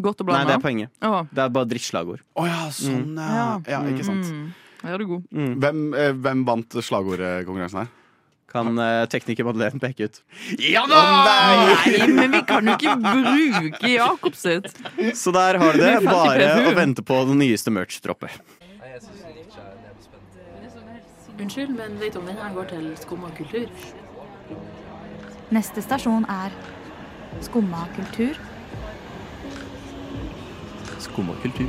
Speaker 4: Godt og
Speaker 3: Nei,
Speaker 4: blanda?
Speaker 3: det er poenget.
Speaker 4: Å,
Speaker 3: Det er bare drittslagord.
Speaker 5: Å ja, sånn, ja.
Speaker 4: Ja.
Speaker 5: ja. Ikke sant.
Speaker 4: mm, her er du god.
Speaker 5: Hvem, eh, hvem vant slagordkonkurransen her?
Speaker 3: Kan eh, tekniker Madeleine peke ut.
Speaker 5: Ja da!
Speaker 4: Nei, men vi kan jo ikke bruke Jakob sitt.
Speaker 3: Så der har du det.
Speaker 4: Vi fant ikke
Speaker 3: Bare
Speaker 4: det.
Speaker 3: å vente på den nyeste merch-droppet.
Speaker 12: Unnskyld, men vet om her går til skum og kultur?
Speaker 6: Neste stasjon er Skumma kultur.
Speaker 7: Skum og kultur.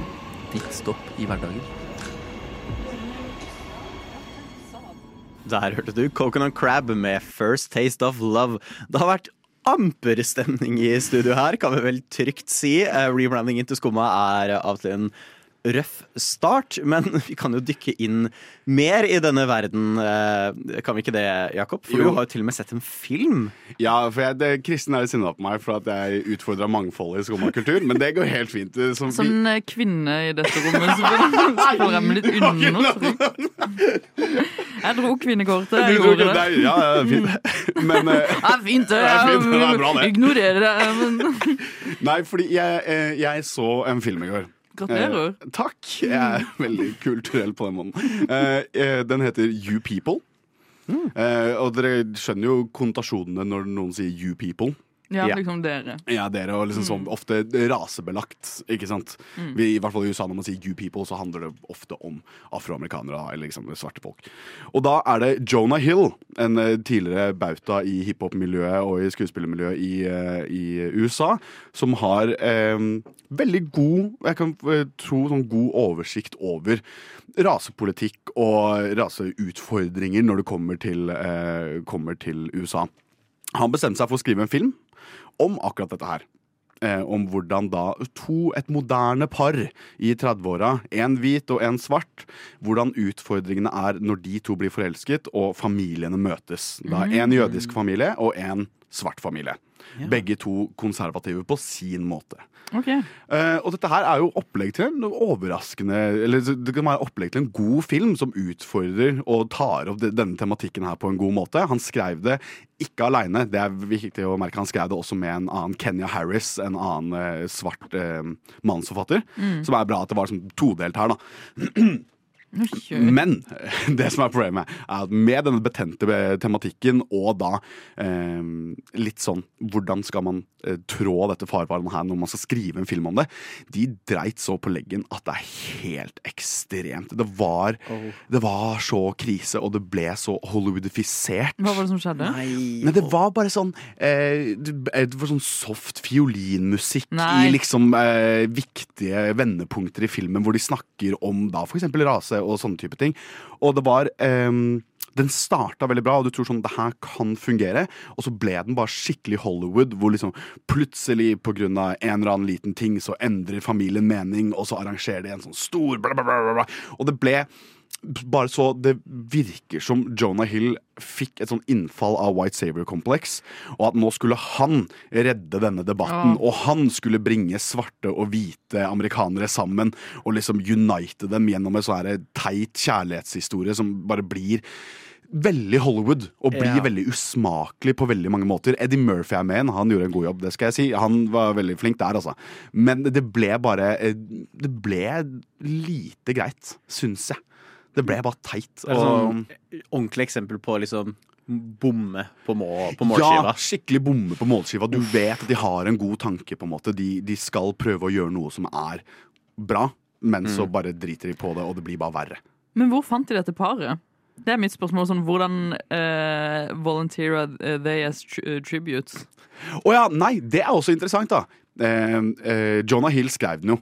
Speaker 7: Ditt stopp i hverdagen.
Speaker 3: Der hørte du Coconut Crab med First Taste of Love. Det har vært amper stemning i studio her, kan vi vel trygt si. Eh, Rebrandingen til Skumma er av og til en røff start, men vi kan jo dykke inn mer i denne verden. eh, Kan vi ikke det, Jakob? For
Speaker 5: Jo.
Speaker 3: du har jo til og med sett en film.
Speaker 5: Ja, for jeg, det, Kristen er litt sinna på meg for at jeg utfordra mangfoldet i skum og kultur, men det går helt fint. eh, Som
Speaker 4: Som en eh, kvinne i dette rommet så får jeg meg litt undertrykt. Jeg dro kvinnekåret.
Speaker 5: vi,
Speaker 4: Jeg
Speaker 5: du,
Speaker 4: gjorde det.
Speaker 5: det. Ja, ja, det er fint. Men eh,
Speaker 4: Ja, fint, det.
Speaker 5: Det er fint, det er bra, det.
Speaker 4: Ignorerer det. Men
Speaker 5: nei, fordi jeg, eh, jeg så en film i går.
Speaker 4: gratulerer.
Speaker 5: Eh, takk. Jeg er veldig kulturell på den måten. Eh, eh, den heter You People. Eh, og dere skjønner jo konnotasjonene når noen sier You People.
Speaker 4: Ja,
Speaker 3: ja.
Speaker 4: liksom dere.
Speaker 5: Ja, dere og liksom sånn ofte rasebelagt, ikke sant? Vi, I hvert fall i USA når man sier you people, så handler det ofte om afroamerikanere da, eller liksom svarte folk. Og da er det Jonah Hill, en eh, tidligere bauta i hiphop-miljøet og i skuespillermiljøet i, eh, i USA, som har eh, veldig god, jeg kan eh, tro sånn god oversikt over rasepolitikk og raseutfordringer når det kommer til, eh, kommer til USA. Han bestemte seg for å skrive en film om akkurat dette her. Eh, om hvordan da to, et moderne par i 30-åra, én hvit og én svart, hvordan utfordringene er når de to blir forelsket og familiene møtes. Da En jødisk familie og en svart familie. Begge to konservative på sin måte.
Speaker 4: Ok.
Speaker 5: Eh, og dette her er jo opplegg til en overraskende Eller det kan være opplegg til en god film som utfordrer og tar opp de- denne tematikken her på en god måte. Han skrev det ikke aleine, det er viktig å merke. Han skrev det også med en annen Kenya Harris, en annen eh, svart eh, mannsforfatter. Som er bra at det var sånn todelt her, da. Men det som er problemet, er at med denne betente be- tematikken og da eh, litt sånn Hvordan skal man eh, trå dette farvannet her når man skal skrive en film om det? De dreit så på leggen at det er helt ekstremt. Det var,
Speaker 4: Oh.
Speaker 5: det var så krise, og det ble så Hollywoodifisert.
Speaker 4: Hva var det som skjedde?
Speaker 5: Men det var bare sånn eh, Det var sånn soft fiolinmusikk
Speaker 4: Nei.
Speaker 5: i liksom eh, viktige vendepunkter i filmen hvor de snakker om da for eksempel rase og sånne type ting. Og det var eh, den starta veldig bra, og du tror sånn det her kan fungere. Og så ble den bare skikkelig Hollywood, hvor liksom plutselig pga. en eller annen liten ting så endrer familien mening, og så arrangerer de en sånn stor bla, bla, bla, bla, bla. Og det ble bare så Det virker som Jonah Hill fikk et sånn innfall av White Savior-kompleks, og at nå skulle han redde denne debatten.
Speaker 9: Ja.
Speaker 5: Og han skulle bringe svarte og hvite amerikanere sammen og liksom unite dem gjennom en sånn her teit kjærlighetshistorie som bare blir Veldig Hollywood, og blir
Speaker 9: Ja.
Speaker 5: veldig usmakelig på veldig mange måter. Eddie Murphy er med igjen, han gjorde en god jobb, det skal jeg si. Han var veldig flink der, altså. Men det ble bare eh, Det ble lite greit, syns jeg. Det ble bare teit.
Speaker 3: Det er sånn ordentlig eksempel på liksom bomme på, må, på
Speaker 5: ja,
Speaker 3: målskiva.
Speaker 5: skikkelig bomme på målskiva. Du vet at de har en god tanke, på en måte. De, de skal prøve å gjøre noe som er bra, men
Speaker 3: Mm.
Speaker 5: så bare driter de på det, og det blir bare verre.
Speaker 4: Men hvor fant de dette paret? Det er mitt spørsmål. Sånn, hvordan uh, volunteerer they as tri eh, tributes?
Speaker 5: Å ja, nei, det er også interessant, da. Eh, eh, Jonah Hill skrev den jo.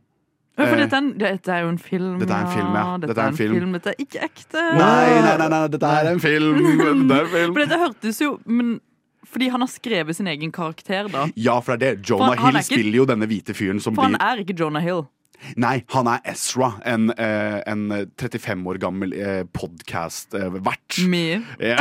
Speaker 4: Ja, for
Speaker 5: Eh,
Speaker 4: dette er, en, dette er jo en film.
Speaker 5: Dette er en film, ja.
Speaker 4: Dette er en film. Dette er ikke ekte.
Speaker 5: Nei, nei, nei, nei, dette er en film! Dette er en
Speaker 4: Ah.
Speaker 5: film.
Speaker 4: For dette hørtes jo men, Fordi han har skrevet sin egen karakter, da.
Speaker 5: Ja, for det er det.
Speaker 4: For han-
Speaker 5: Jonah
Speaker 4: han er
Speaker 5: Hill
Speaker 4: ikke-
Speaker 5: spiller jo denne hvite fyren som
Speaker 4: For han
Speaker 5: blir
Speaker 4: er ikke Jonah Hill.
Speaker 5: Nei, han er Ezra, en, eh, en 35 år gammel eh, podkast-vert.
Speaker 4: Me.
Speaker 5: Ja.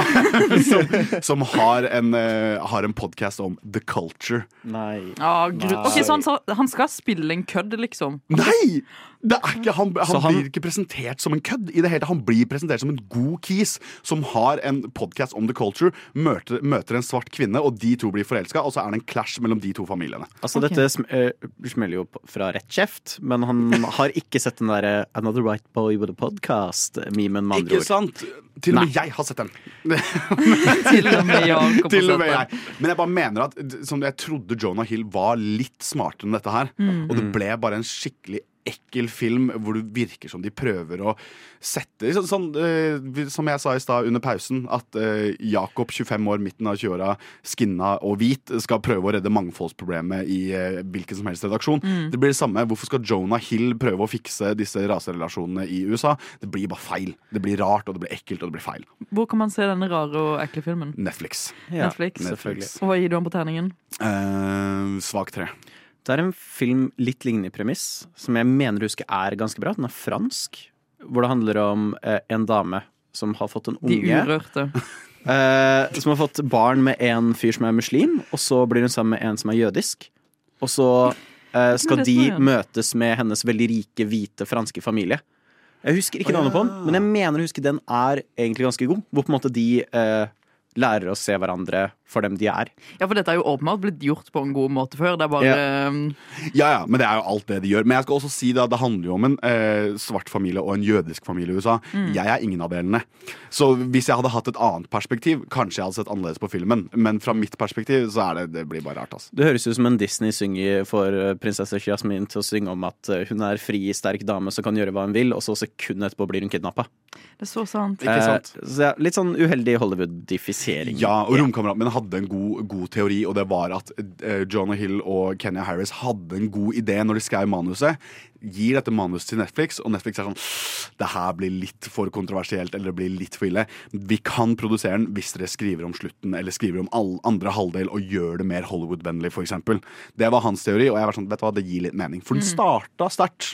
Speaker 5: som som har en, eh, har en podkast om The Culture.
Speaker 3: Nei.
Speaker 4: Ah, gru- Ok, så han, sa- han skal spille en kødd, liksom?
Speaker 5: Nei! Det er ikke, han, han,
Speaker 4: Så han-
Speaker 5: blir ikke presentert som en kødd. i det hele tatt. Han blir presentert som en god kis som har en podkast om the culture, møter, møter en svart kvinne, og de to blir forelska, og så er det en clash mellom de to familiene.
Speaker 3: Altså, dette sm eh, smeller jo på- fra rett kjeft, men han har ikke sett den derre 'Another Right Boy with a Podcast'-memen, med andre
Speaker 5: Ikke
Speaker 3: ord.
Speaker 5: sant? Til og med jeg har sett den. Til
Speaker 4: og med Jakob har
Speaker 5: Til og med
Speaker 4: sett
Speaker 5: jeg. Men jeg bare mener at som jeg trodde Jonah Hill var litt smartere enn dette her.
Speaker 9: Mm.
Speaker 5: Og det ble bare en skikkelig ekkel film hvor det virker som de prøver å sette sånn, sånn, eh, vi- Som jeg sa i stad under pausen, at eh, Jakob, 25 år, midten av 20-åra, skinna og hvit, skal prøve å redde mangfoldsproblemet i eh, hvilken som helst redaksjon.
Speaker 9: Mm.
Speaker 5: Det blir det samme. Hvorfor skal Jonah Hill prøve å fikse disse raserelasjonene i USA? Det blir bare feil. Det blir rart, og det blir ekkelt, og det blir feil.
Speaker 4: Hvor kan man se denne rare og ekle filmen?
Speaker 5: Netflix.
Speaker 4: Netflix. Og hva gir du ham på terningen?
Speaker 5: Eh, svak tre.
Speaker 3: Det er en film litt lignende i premiss, som jeg mener å huske er ganske bra. Den er fransk. Hvor det handler om eh, en dame som har fått en
Speaker 4: De
Speaker 3: unge.
Speaker 4: urørte.
Speaker 3: eh, som har fått barn med en fyr som er muslim, og så blir hun sammen med en som er jødisk. Og så eh, skal
Speaker 4: det
Speaker 3: de
Speaker 4: som er jødisk?
Speaker 3: møtes med hennes veldig rike, hvite franske familie. Jeg husker ikke navnet på den, men jeg mener å huske den er egentlig ganske god. Hvor på en måte de eh, lærer å se hverandre for dem de er.
Speaker 4: Ja, for dette er jo åpenbart blitt gjort på en god måte før. Det er bare ehm,
Speaker 5: Ja, ja, men det er jo alt det de gjør. Men jeg skal også si det at det handler jo om en eh, svart familie og en jødisk familie i USA.
Speaker 9: Mm.
Speaker 5: Jeg er ingen av delene. Så hvis jeg hadde hatt et annet perspektiv, kanskje jeg hadde sett annerledes på filmen. Men fra mitt perspektiv så er det, det blir bare rart, altså.
Speaker 3: Det høres ut som en Disney-synger for eh, prinsesse Jasmin til å synge om at eh, hun er fri, sterk dame som kan gjøre hva hun vil, og så sekundet etterpå blir hun kidnappa.
Speaker 4: Det er så sant.
Speaker 3: litt sånn uheldig Hollywood-diffisering.
Speaker 5: Ja, og romkameraten min hadde en god, god teori, og det var at eh, Jonah Hill og Kenya Harris hadde en god idé når de skrev manuset. Gir dette manuset til Netflix, og Netflix er sånn Det her blir litt for kontroversielt, eller det blir litt for ille. Vi kan produsere den hvis dere skriver om slutten, eller skriver om all andre halvdel og gjør det mer Hollywood-vennlig, f.eks. Det var hans teori, og jeg var sånn, vet du hva, det gir litt mening. For den
Speaker 3: Mm.
Speaker 5: starta sterkt.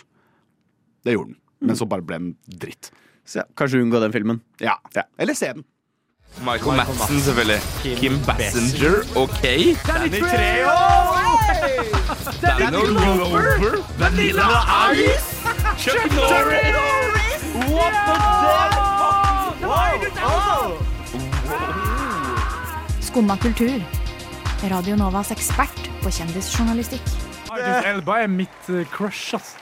Speaker 5: Det gjorde den. Men så bare ble den dritt.
Speaker 3: Så ja, kanskje unngå den filmen.
Speaker 5: Ja. Eller se den.
Speaker 8: Michael Madsen, selvfølgelig. Kim Bassinger, OK?
Speaker 9: Danny Trejo!
Speaker 8: Danny Glover! Vanilla Ice! Chuck Norris!
Speaker 9: What the fuck?
Speaker 13: Skumma kultur. Radio Novas ekspert på kjendisjournalistikk.
Speaker 14: Idris Elba er mitt eh, crush, ass.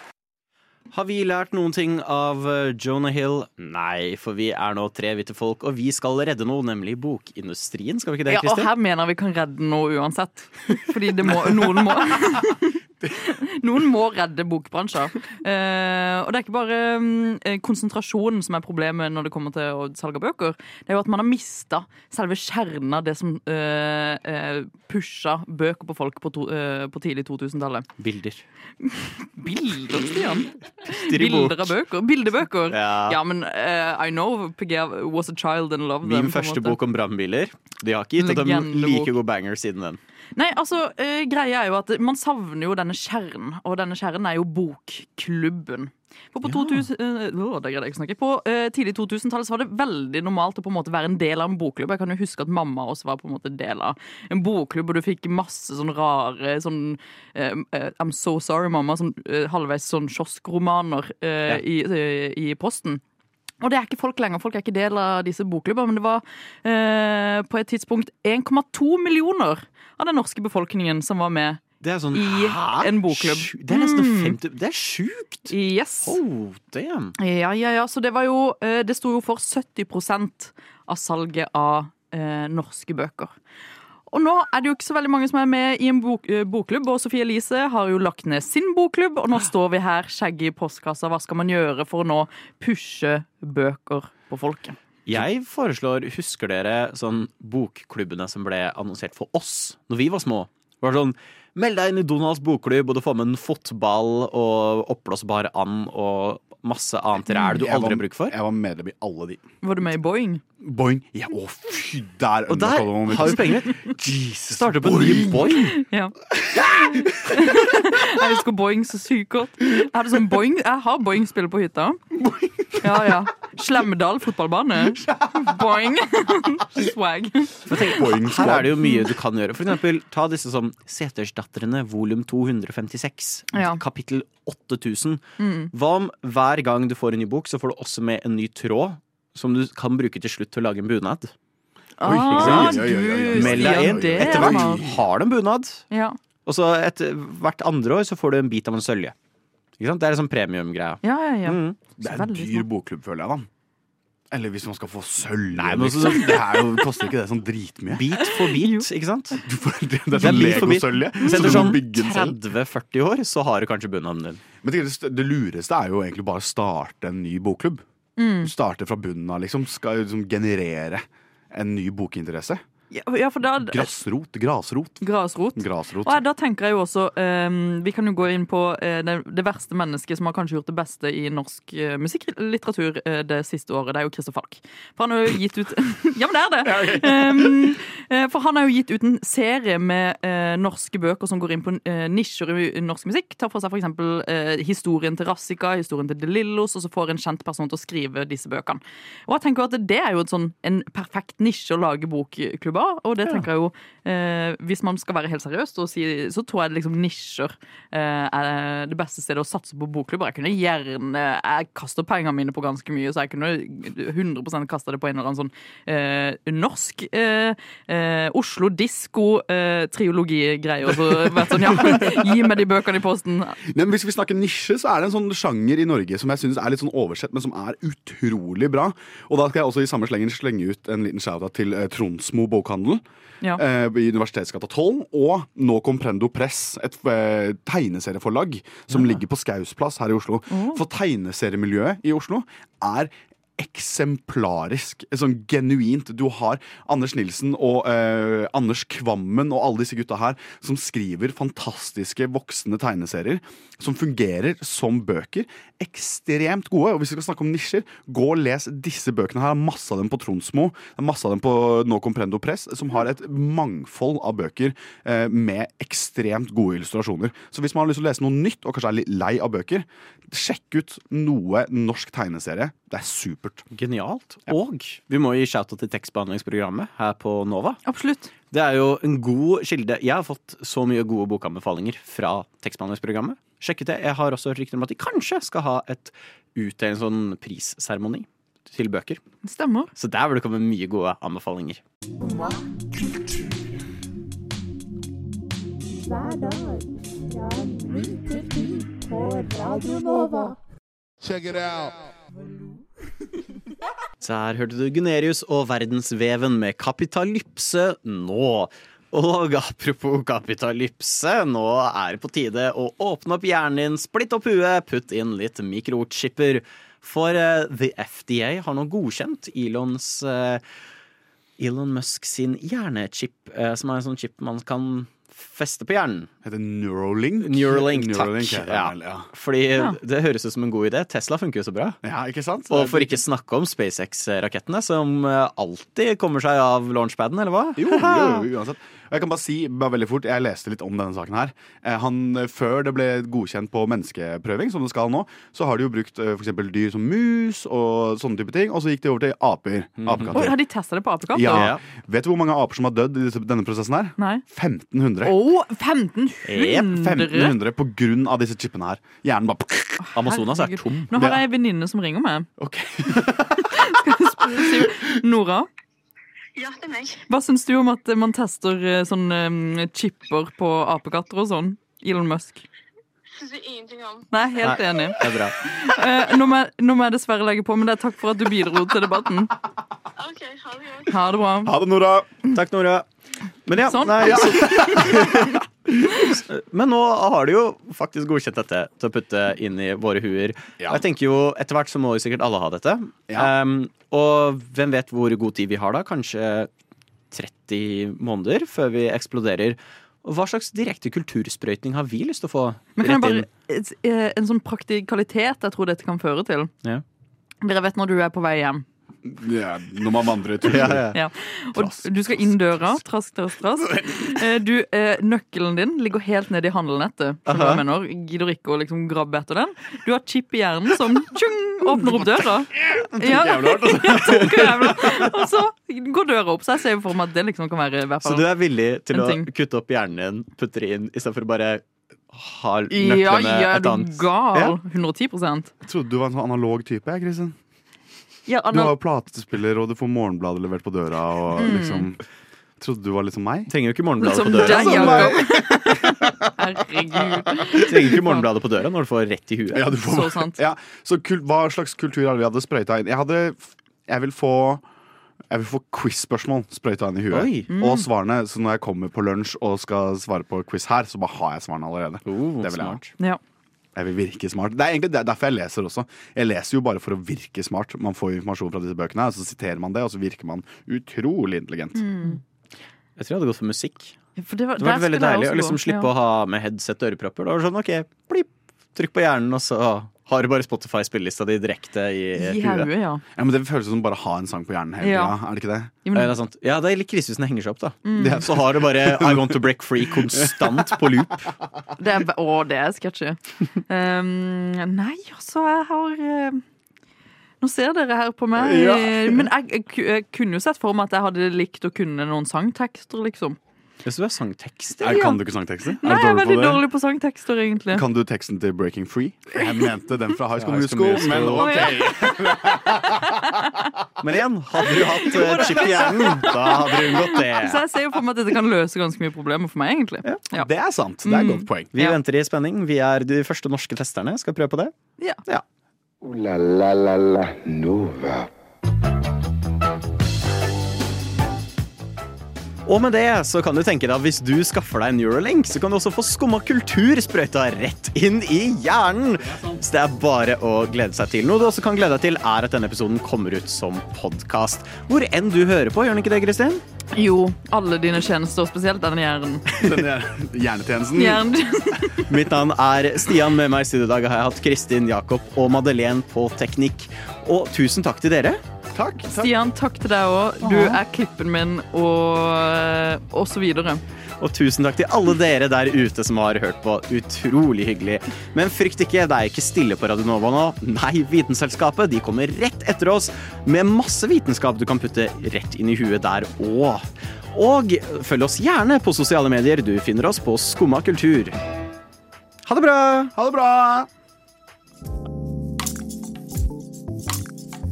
Speaker 3: Har vi lært noen ting av eh, Jonah Hill? Nei, for vi er nå tre hvite folk, og vi skal redde noe, nemlig bokindustrien. Skal vi ikke det,
Speaker 4: Eh, Ja, og
Speaker 3: Kristin?
Speaker 4: her mener vi kan redde noe uansett. Fordi det må, noen må Noen må redde bokbransjer. Eh, og det er ikke bare mm, konsentrasjonen som er problemet når det kommer til å selge bøker. Det er jo at man har mista selve kjernen av det som eh, eh, pusha bøker på folk på, to, eh, på tidlig 2000-tallet.
Speaker 3: Bilder.
Speaker 4: Bilder, Stian?
Speaker 3: Bilder i bok.
Speaker 4: Bilder av bøker. Bildebøker.
Speaker 3: Ja.
Speaker 4: men eh, I know PG was a child and loved them.
Speaker 3: Min
Speaker 4: på en
Speaker 3: første
Speaker 4: måte.
Speaker 3: bok om brannbiler. De har ikke gitt dem
Speaker 4: Legendebok.
Speaker 3: like god banger siden den.
Speaker 4: Nei, altså, eh, greia er jo at man savner jo denne kjernen, og denne kjernen er jo bokklubben. For på, 2000, eh, å, det greide jeg ikke å snakke. på eh, tidlig 2000-tallet så var det veldig normalt å på en måte være en del av en bokklubb. Jeg kan jo huske at mamma også var på en måte del av en bokklubb, og du fikk masse sånn rare sånn eh, eh, I'm so sorry, mamma, sånn, eh, halvveis sånn kioskromaner eh, i, eh, i posten. Og det er ikke folk lenger. Folk er ikke del av disse bokklubbene. Men det var eh, på et tidspunkt 1,2 millioner av den norske befolkningen som var med
Speaker 3: Det er sånn,
Speaker 4: i
Speaker 3: hæ?
Speaker 4: en bokklubb.
Speaker 3: Sju- Det er nesten
Speaker 4: Mm.
Speaker 3: 50 Det er sjukt!
Speaker 4: Yes.
Speaker 3: Oh, damn.
Speaker 4: Ja, ja, ja. Så det var jo eh, Det sto jo for 70 av salget av eh, norske bøker. Og nå er det jo ikke så veldig mange som er med i en bok, eh, bokklubb, og Sofie Elise har jo lagt ned sin bokklubb, og nå står vi her, skjegget i postkassa. Hva skal man gjøre for å nå pushe bøker på folket?
Speaker 3: Jeg foreslår, husker dere sånn bokklubbene som ble annonsert for oss når vi var små? Det var sånn, meld deg inn i Donalds bokklubb, og du får med en fotball og oppblåsbar and og masse annet ræl du
Speaker 5: Jeg var-
Speaker 3: aldri har bruk for.
Speaker 5: Jeg var medlem i alle de.
Speaker 4: Var du med i Boeing?
Speaker 5: Boing. Ja, å, fy, der
Speaker 3: Og der
Speaker 5: underkaller man mye.
Speaker 3: har vi pengene.
Speaker 5: Jesus,
Speaker 3: Starter på en ny boing.
Speaker 4: Ja. Jeg husker Boing så sykt godt. Jeg, hadde sånn Boing, jeg har Boing-spill på hytta. Ja, ja. Slemdal fotballbane. Boing. Swag.
Speaker 3: For tenk, her er det jo mye du kan gjøre. For eksempel, ta disse som Setersdatterne volum 256,
Speaker 4: Ja.
Speaker 3: kapittel 8000.
Speaker 4: Mm.
Speaker 3: Hva om hver gang du får en ny bok, så får du også med en ny tråd som du kan bruke til slutt til å lage en bunad?
Speaker 4: Ah,
Speaker 3: Ikke sant?
Speaker 4: du,
Speaker 3: Meld deg inn.
Speaker 4: Stian, det
Speaker 3: Etter
Speaker 4: var-
Speaker 3: hvert har du en bunad.
Speaker 4: Ja.
Speaker 3: Og så etter hvert andre år så får du en bit av en sølje. Ikke sant? Det er en sånn premiumgreie.
Speaker 4: Ja, ja, ja.
Speaker 3: Mm.
Speaker 5: Det er en dyr bokklubb, føler jeg, da. Eller hvis man skal få sølv.
Speaker 3: Nei, men
Speaker 5: men
Speaker 3: også-
Speaker 5: det er jo, koster ikke det sånn dritmye?
Speaker 3: Bit for bit, ikke sant?
Speaker 5: Du får, det, det
Speaker 3: Det
Speaker 5: er sånn
Speaker 3: er bit for bit. Så
Speaker 5: legosølje. som
Speaker 3: etter
Speaker 5: du må
Speaker 3: sånn
Speaker 5: bygge selv.
Speaker 3: 30-40 år så har du kanskje bunaden din.
Speaker 5: Men tenk, det st- det lureste er jo egentlig bare å starte en ny bokklubb.
Speaker 4: Mm.
Speaker 5: Starte fra bunnen av, liksom. Skal liksom generere en ny bokinteresse.
Speaker 4: Ja, for da
Speaker 5: Grasrot. Grasrot.
Speaker 4: Grasrot.
Speaker 5: Grasrot.
Speaker 4: Og da tenker jeg jo også ehm, Vi kan jo gå inn på eh, det, det verste mennesket som har kanskje gjort det beste i norsk eh, musikklitteratur eh, det siste året. Det er jo Christer Falk. For han har jo gitt ut Ja, men det er det! Ehm, eh, for han har jo gitt ut en serie med eh, norske bøker som går inn på eh, nisjer i i norsk musikk. Tar for seg f.eks. Eh, historien til Rassika, historien til De Lillos, og så får en kjent person til å skrive disse bøkene. Og jeg tenker jo at Det er jo et sånn, en perfekt nisje å lage bokklubb av. Og det tenker jeg jo, eh, hvis man skal være helt seriøst, og si, så tror jeg liksom nisjer eh, er det beste stedet å satse på bokklubber. Jeg kunne gjerne, jeg kaster pengene mine på ganske mye, så jeg kunne 100 kasta det på en eller annen sånn eh, norsk eh, eh, Oslo disko-triologi-greie. og så vært sånn, ja, gi meg de bøkene i posten.
Speaker 5: Nei, men hvis vi snakker nisje, så er det en sånn sjanger i Norge som jeg synes er litt sånn oversett, men som er utrolig bra. Og da skal jeg også i samme slengen slenge ut en liten shout-out til eh, Tronsmo bokhandel.
Speaker 4: Ja.
Speaker 5: eh, I Universitetsgata 12. Og nå Comprendo Press, et eh, tegneserieforlag som ligger på Skaus plass her i Oslo. For tegneseriemiljøet i Oslo er eksemplarisk. Sånn genuint. Du har Anders Nilsen og eh, Anders Kvammen og alle disse gutta her som skriver fantastiske voksne tegneserier som fungerer som bøker. Ekstremt gode. Og hvis vi skal snakke om nisjer, gå og les disse bøkene her. Masse av dem på Tronsmo, masse av dem på No Comprendo Press, som har et mangfold av bøker eh, med ekstremt gode illustrasjoner. Så hvis man har lyst til å lese noe nytt, og kanskje er litt lei av bøker, sjekk ut noe norsk tegneserie. Det er supert.
Speaker 3: Genialt. Og vi må gi shout-out til tekstbehandlingsprogrammet her på Nova.
Speaker 4: Absolutt.
Speaker 3: Det er jo en god kilde. Jeg har fått så mye gode bokanbefalinger fra tekstbehandlingsprogrammet. Sjekk ut det. Jeg har også rykter om at de kanskje skal ha et utdeling sånn prisseremoni til bøker.
Speaker 4: Stemmer.
Speaker 3: Så der vil det komme mye gode anbefalinger.
Speaker 9: Hver dag fra 9 til 10 på Radio Nova.
Speaker 14: Check it out.
Speaker 3: Der hørte du Gunerius og Verdensveven med Kapitalypse nå. Og apropos kapitalypse, nå er det på tide å åpne opp hjernen din, splitt opp huet, putt inn litt mikrochipper. For eh, The FDA har nå godkjent Elons eh, Elon Musk sin hjernechip, eh, som er en sånn chip man kan feste på hjernen.
Speaker 5: Heter Neuralink?
Speaker 3: Neuralink, takk.
Speaker 5: Neuralink heter den
Speaker 3: ja.
Speaker 5: vel, ja.
Speaker 3: Fordi
Speaker 5: Ja.
Speaker 3: det høres ut som en god idé. Tesla funker jo så bra.
Speaker 5: Ja, ikke sant?
Speaker 3: Og for ikke snakke om SpaceX-rakettene, som eh, alltid kommer seg av launchpaden, eller hva?
Speaker 5: Jo, jo, jo, uansett. Og Jeg kan bare si bare veldig fort, jeg leste litt om denne saken her. Eh, Han, før det ble godkjent på menneskeprøving, som det skal nå, så har de jo brukt eh, for eksempel dyr som mus og sånne type ting, og så gikk de over til aper. Apekatter.
Speaker 4: Mhm. Oi, har de testa det på apekatter?
Speaker 5: ja. Vet du hvor mange aper som har dødd i disse- denne prosessen her?
Speaker 4: Nei.
Speaker 5: 1500.
Speaker 4: Å, 1500!
Speaker 5: Jep, 1500 på grunn av disse chipene her. Hjernen bare
Speaker 3: Amazonas altså, er tom.
Speaker 4: Nå har
Speaker 5: Ja.
Speaker 4: jeg en venninne som ringer meg. Skal jeg spørre Siv- Nora?
Speaker 15: Ja, det er meg.
Speaker 4: Hva syns du om at man tester eh, sånne eh, chipper på apekatter og sånn? Elon Musk.
Speaker 15: Syns jeg ingenting om.
Speaker 4: Nei, helt enig.
Speaker 3: Det er bra.
Speaker 4: Eh, nå, må jeg, nå må jeg dessverre legge på, men det er takk for at du bidro til debatten. ha det bra.
Speaker 5: Ha det, Nora.
Speaker 3: Takk, Nora. Men ja,
Speaker 4: Sånn.
Speaker 3: nei, så- Men nå har de jo faktisk godkjent dette til å putte inn i våre huer. Og Jeg tenker jo, Etter hvert så må jo sikkert alle ha dette. Um, og hvem vet hvor god tid vi har da? Kanskje 30 måneder før vi eksploderer. Og hva slags direkte kultursprøytning har vi lyst til å få
Speaker 4: Men kan jeg
Speaker 3: rett
Speaker 4: bare,
Speaker 3: inn?
Speaker 4: eh, en sånn praktikalitet jeg tror dette kan føre til.
Speaker 3: Ja.
Speaker 4: Dere vet når du er på vei hjem.
Speaker 5: Ja, når man vandrer tur.
Speaker 4: Ja. Og du skal inn døra. Trask, trask, trask. Eh, Du, eh, nøkkelen din ligger helt ned i handelnettet. skjønner du hva jeg
Speaker 9: Aha.
Speaker 4: mener. Gidder ikke å liksom grabbe etter den. Du har chip i hjernen som tjung, åpner opp døra. Ja,
Speaker 9: jævlig
Speaker 3: altså.
Speaker 9: hardt,
Speaker 4: ja, tok jævlig hardt. Og så går døra opp. Så jeg ser jo for meg at det liksom kan være i hvert
Speaker 3: Så
Speaker 4: fall
Speaker 3: du er villig til
Speaker 4: en
Speaker 3: å
Speaker 4: ting.
Speaker 3: kutte opp hjernen din, putte det inn, istedenfor å bare ha nøklene
Speaker 4: Ja, ja, er
Speaker 3: et
Speaker 4: du
Speaker 3: annet
Speaker 4: gal?
Speaker 3: Ja.
Speaker 4: 110
Speaker 5: Jeg trodde du var en sånn analog type, jeg, Kristin.
Speaker 4: ja,
Speaker 5: Du har
Speaker 4: Anna,
Speaker 5: jo platespiller, og du får Morgenbladet levert på døra. Og
Speaker 4: Mm.
Speaker 5: liksom Trodde du var litt som meg?
Speaker 3: Trenger jo ikke Morgenbladet
Speaker 4: Som
Speaker 3: på døra.
Speaker 4: deg,
Speaker 3: Som meg.
Speaker 4: Jakob. Herregud.
Speaker 3: Trenger ikke Morgenbladet på døra når du får rett i huet.
Speaker 5: Ja, du får,
Speaker 4: Så sant.
Speaker 5: Ja, så kul, hva slags kultur hadde vi hadde sprøyta inn? Jeg, hadde, jeg vil få jeg vil få quiz-spørsmål sprøyta inn i huet.
Speaker 3: Oi. Mm.
Speaker 5: Og svarene. Så når jeg kommer på lunsj og skal svare på quiz her, så bare har jeg svarene allerede.
Speaker 3: Oh.
Speaker 5: det vil jeg ha.
Speaker 4: Ja.
Speaker 5: Jeg vil virke smart. Det er egentlig det- derfor jeg leser også. Jeg leser jo bare for å virke smart. Man får informasjon fra disse bøkene, og så siterer man det, og så virker man utrolig intelligent.
Speaker 4: Mm.
Speaker 3: Jeg tror jeg hadde gått for musikk.
Speaker 4: For det, var,
Speaker 3: Det hadde vært
Speaker 4: der
Speaker 3: veldig
Speaker 4: skulle jeg
Speaker 3: deilig
Speaker 4: også
Speaker 3: å liksom
Speaker 4: gå.
Speaker 3: slippe
Speaker 4: Ja.
Speaker 3: å ha med headset og ørepropper. Da var det sånn, ok, plipp, trykk på hjernen, og så har du bare Spotify-spillelista di direkte i,
Speaker 4: I hodet, ja.
Speaker 5: Ja, men Det føles som bare å ha en sang på hjernen hele
Speaker 4: Ja.
Speaker 5: tida, er det ikke det?
Speaker 4: Ja, men-
Speaker 3: Eh, det er sant. Ja, det er litt krise hvis den henger seg opp, da.
Speaker 4: Mm. Ja.
Speaker 3: Så har du bare I Want To Break Free konstant på loop.
Speaker 4: Det er, å, det er sketchy. Um, nei, altså, jeg har eh, Nå ser dere her på meg.
Speaker 9: Ja.
Speaker 4: eh, Men jeg, jeg, ku- jeg kunne jo sett for meg at jeg hadde likt å kunne noen sangtekster, liksom.
Speaker 3: Hvis du er sangtekster
Speaker 5: Er,
Speaker 4: ja.
Speaker 5: kan du ikke sangtekster?
Speaker 4: Nei, jeg er veldig dårlig på sangtekster, egentlig.
Speaker 5: Kan du teksten til Breaking Free? Jeg mente den fra High School
Speaker 3: Ja, High School
Speaker 5: Musical, men
Speaker 3: Musical.
Speaker 5: ok.
Speaker 3: Men igjen, hadde du hatt eh, chip i hjernen, da hadde du unngått
Speaker 4: Så
Speaker 3: det.
Speaker 4: jeg ser jo for meg at dette kan løse ganske mye problemer for meg, egentlig. Ja.
Speaker 5: Det er sant. Det er et godt poeng.
Speaker 3: Vi venter i spenning. Vi er de første norske testerne. Skal prøve på det.
Speaker 2: Ooh la la la la Nova.
Speaker 3: Og med det så kan du tenke deg at hvis du skaffer deg Neuralink, så kan du også få skumma kultur sprøyta rett inn i hjernen. Så det er bare å glede seg til. Noe du også kan glede deg til, er at denne episoden kommer ut som podkast. Hvor enn du hører på, gjør den ikke det, Kristin?
Speaker 4: Jo, alle dine tjenester, spesielt denne hjernen.
Speaker 5: Denne hjernetjenesten.
Speaker 4: Hjernen.
Speaker 3: Mitt navn er Stian. Med meg i studio i dag har jeg hatt Kristin, Jakob og Madeleine på teknikk. Og tusen takk til dere.
Speaker 5: Takk.
Speaker 4: Stian, takk til deg òg. Du er klippen min, og, eh, og så videre.
Speaker 3: Og tusen takk til alle dere der ute som har hørt på. Utrolig hyggelig. Men frykt ikke, det er ikke stille på Radionova nå. Nei, Vitenselskapet de kommer rett etter oss med masse vitenskap du kan putte rett inn i huet der òg. Og følg oss gjerne på sosiale medier. Du finner oss på Skumma kultur. Ha det bra!
Speaker 5: Ha det bra!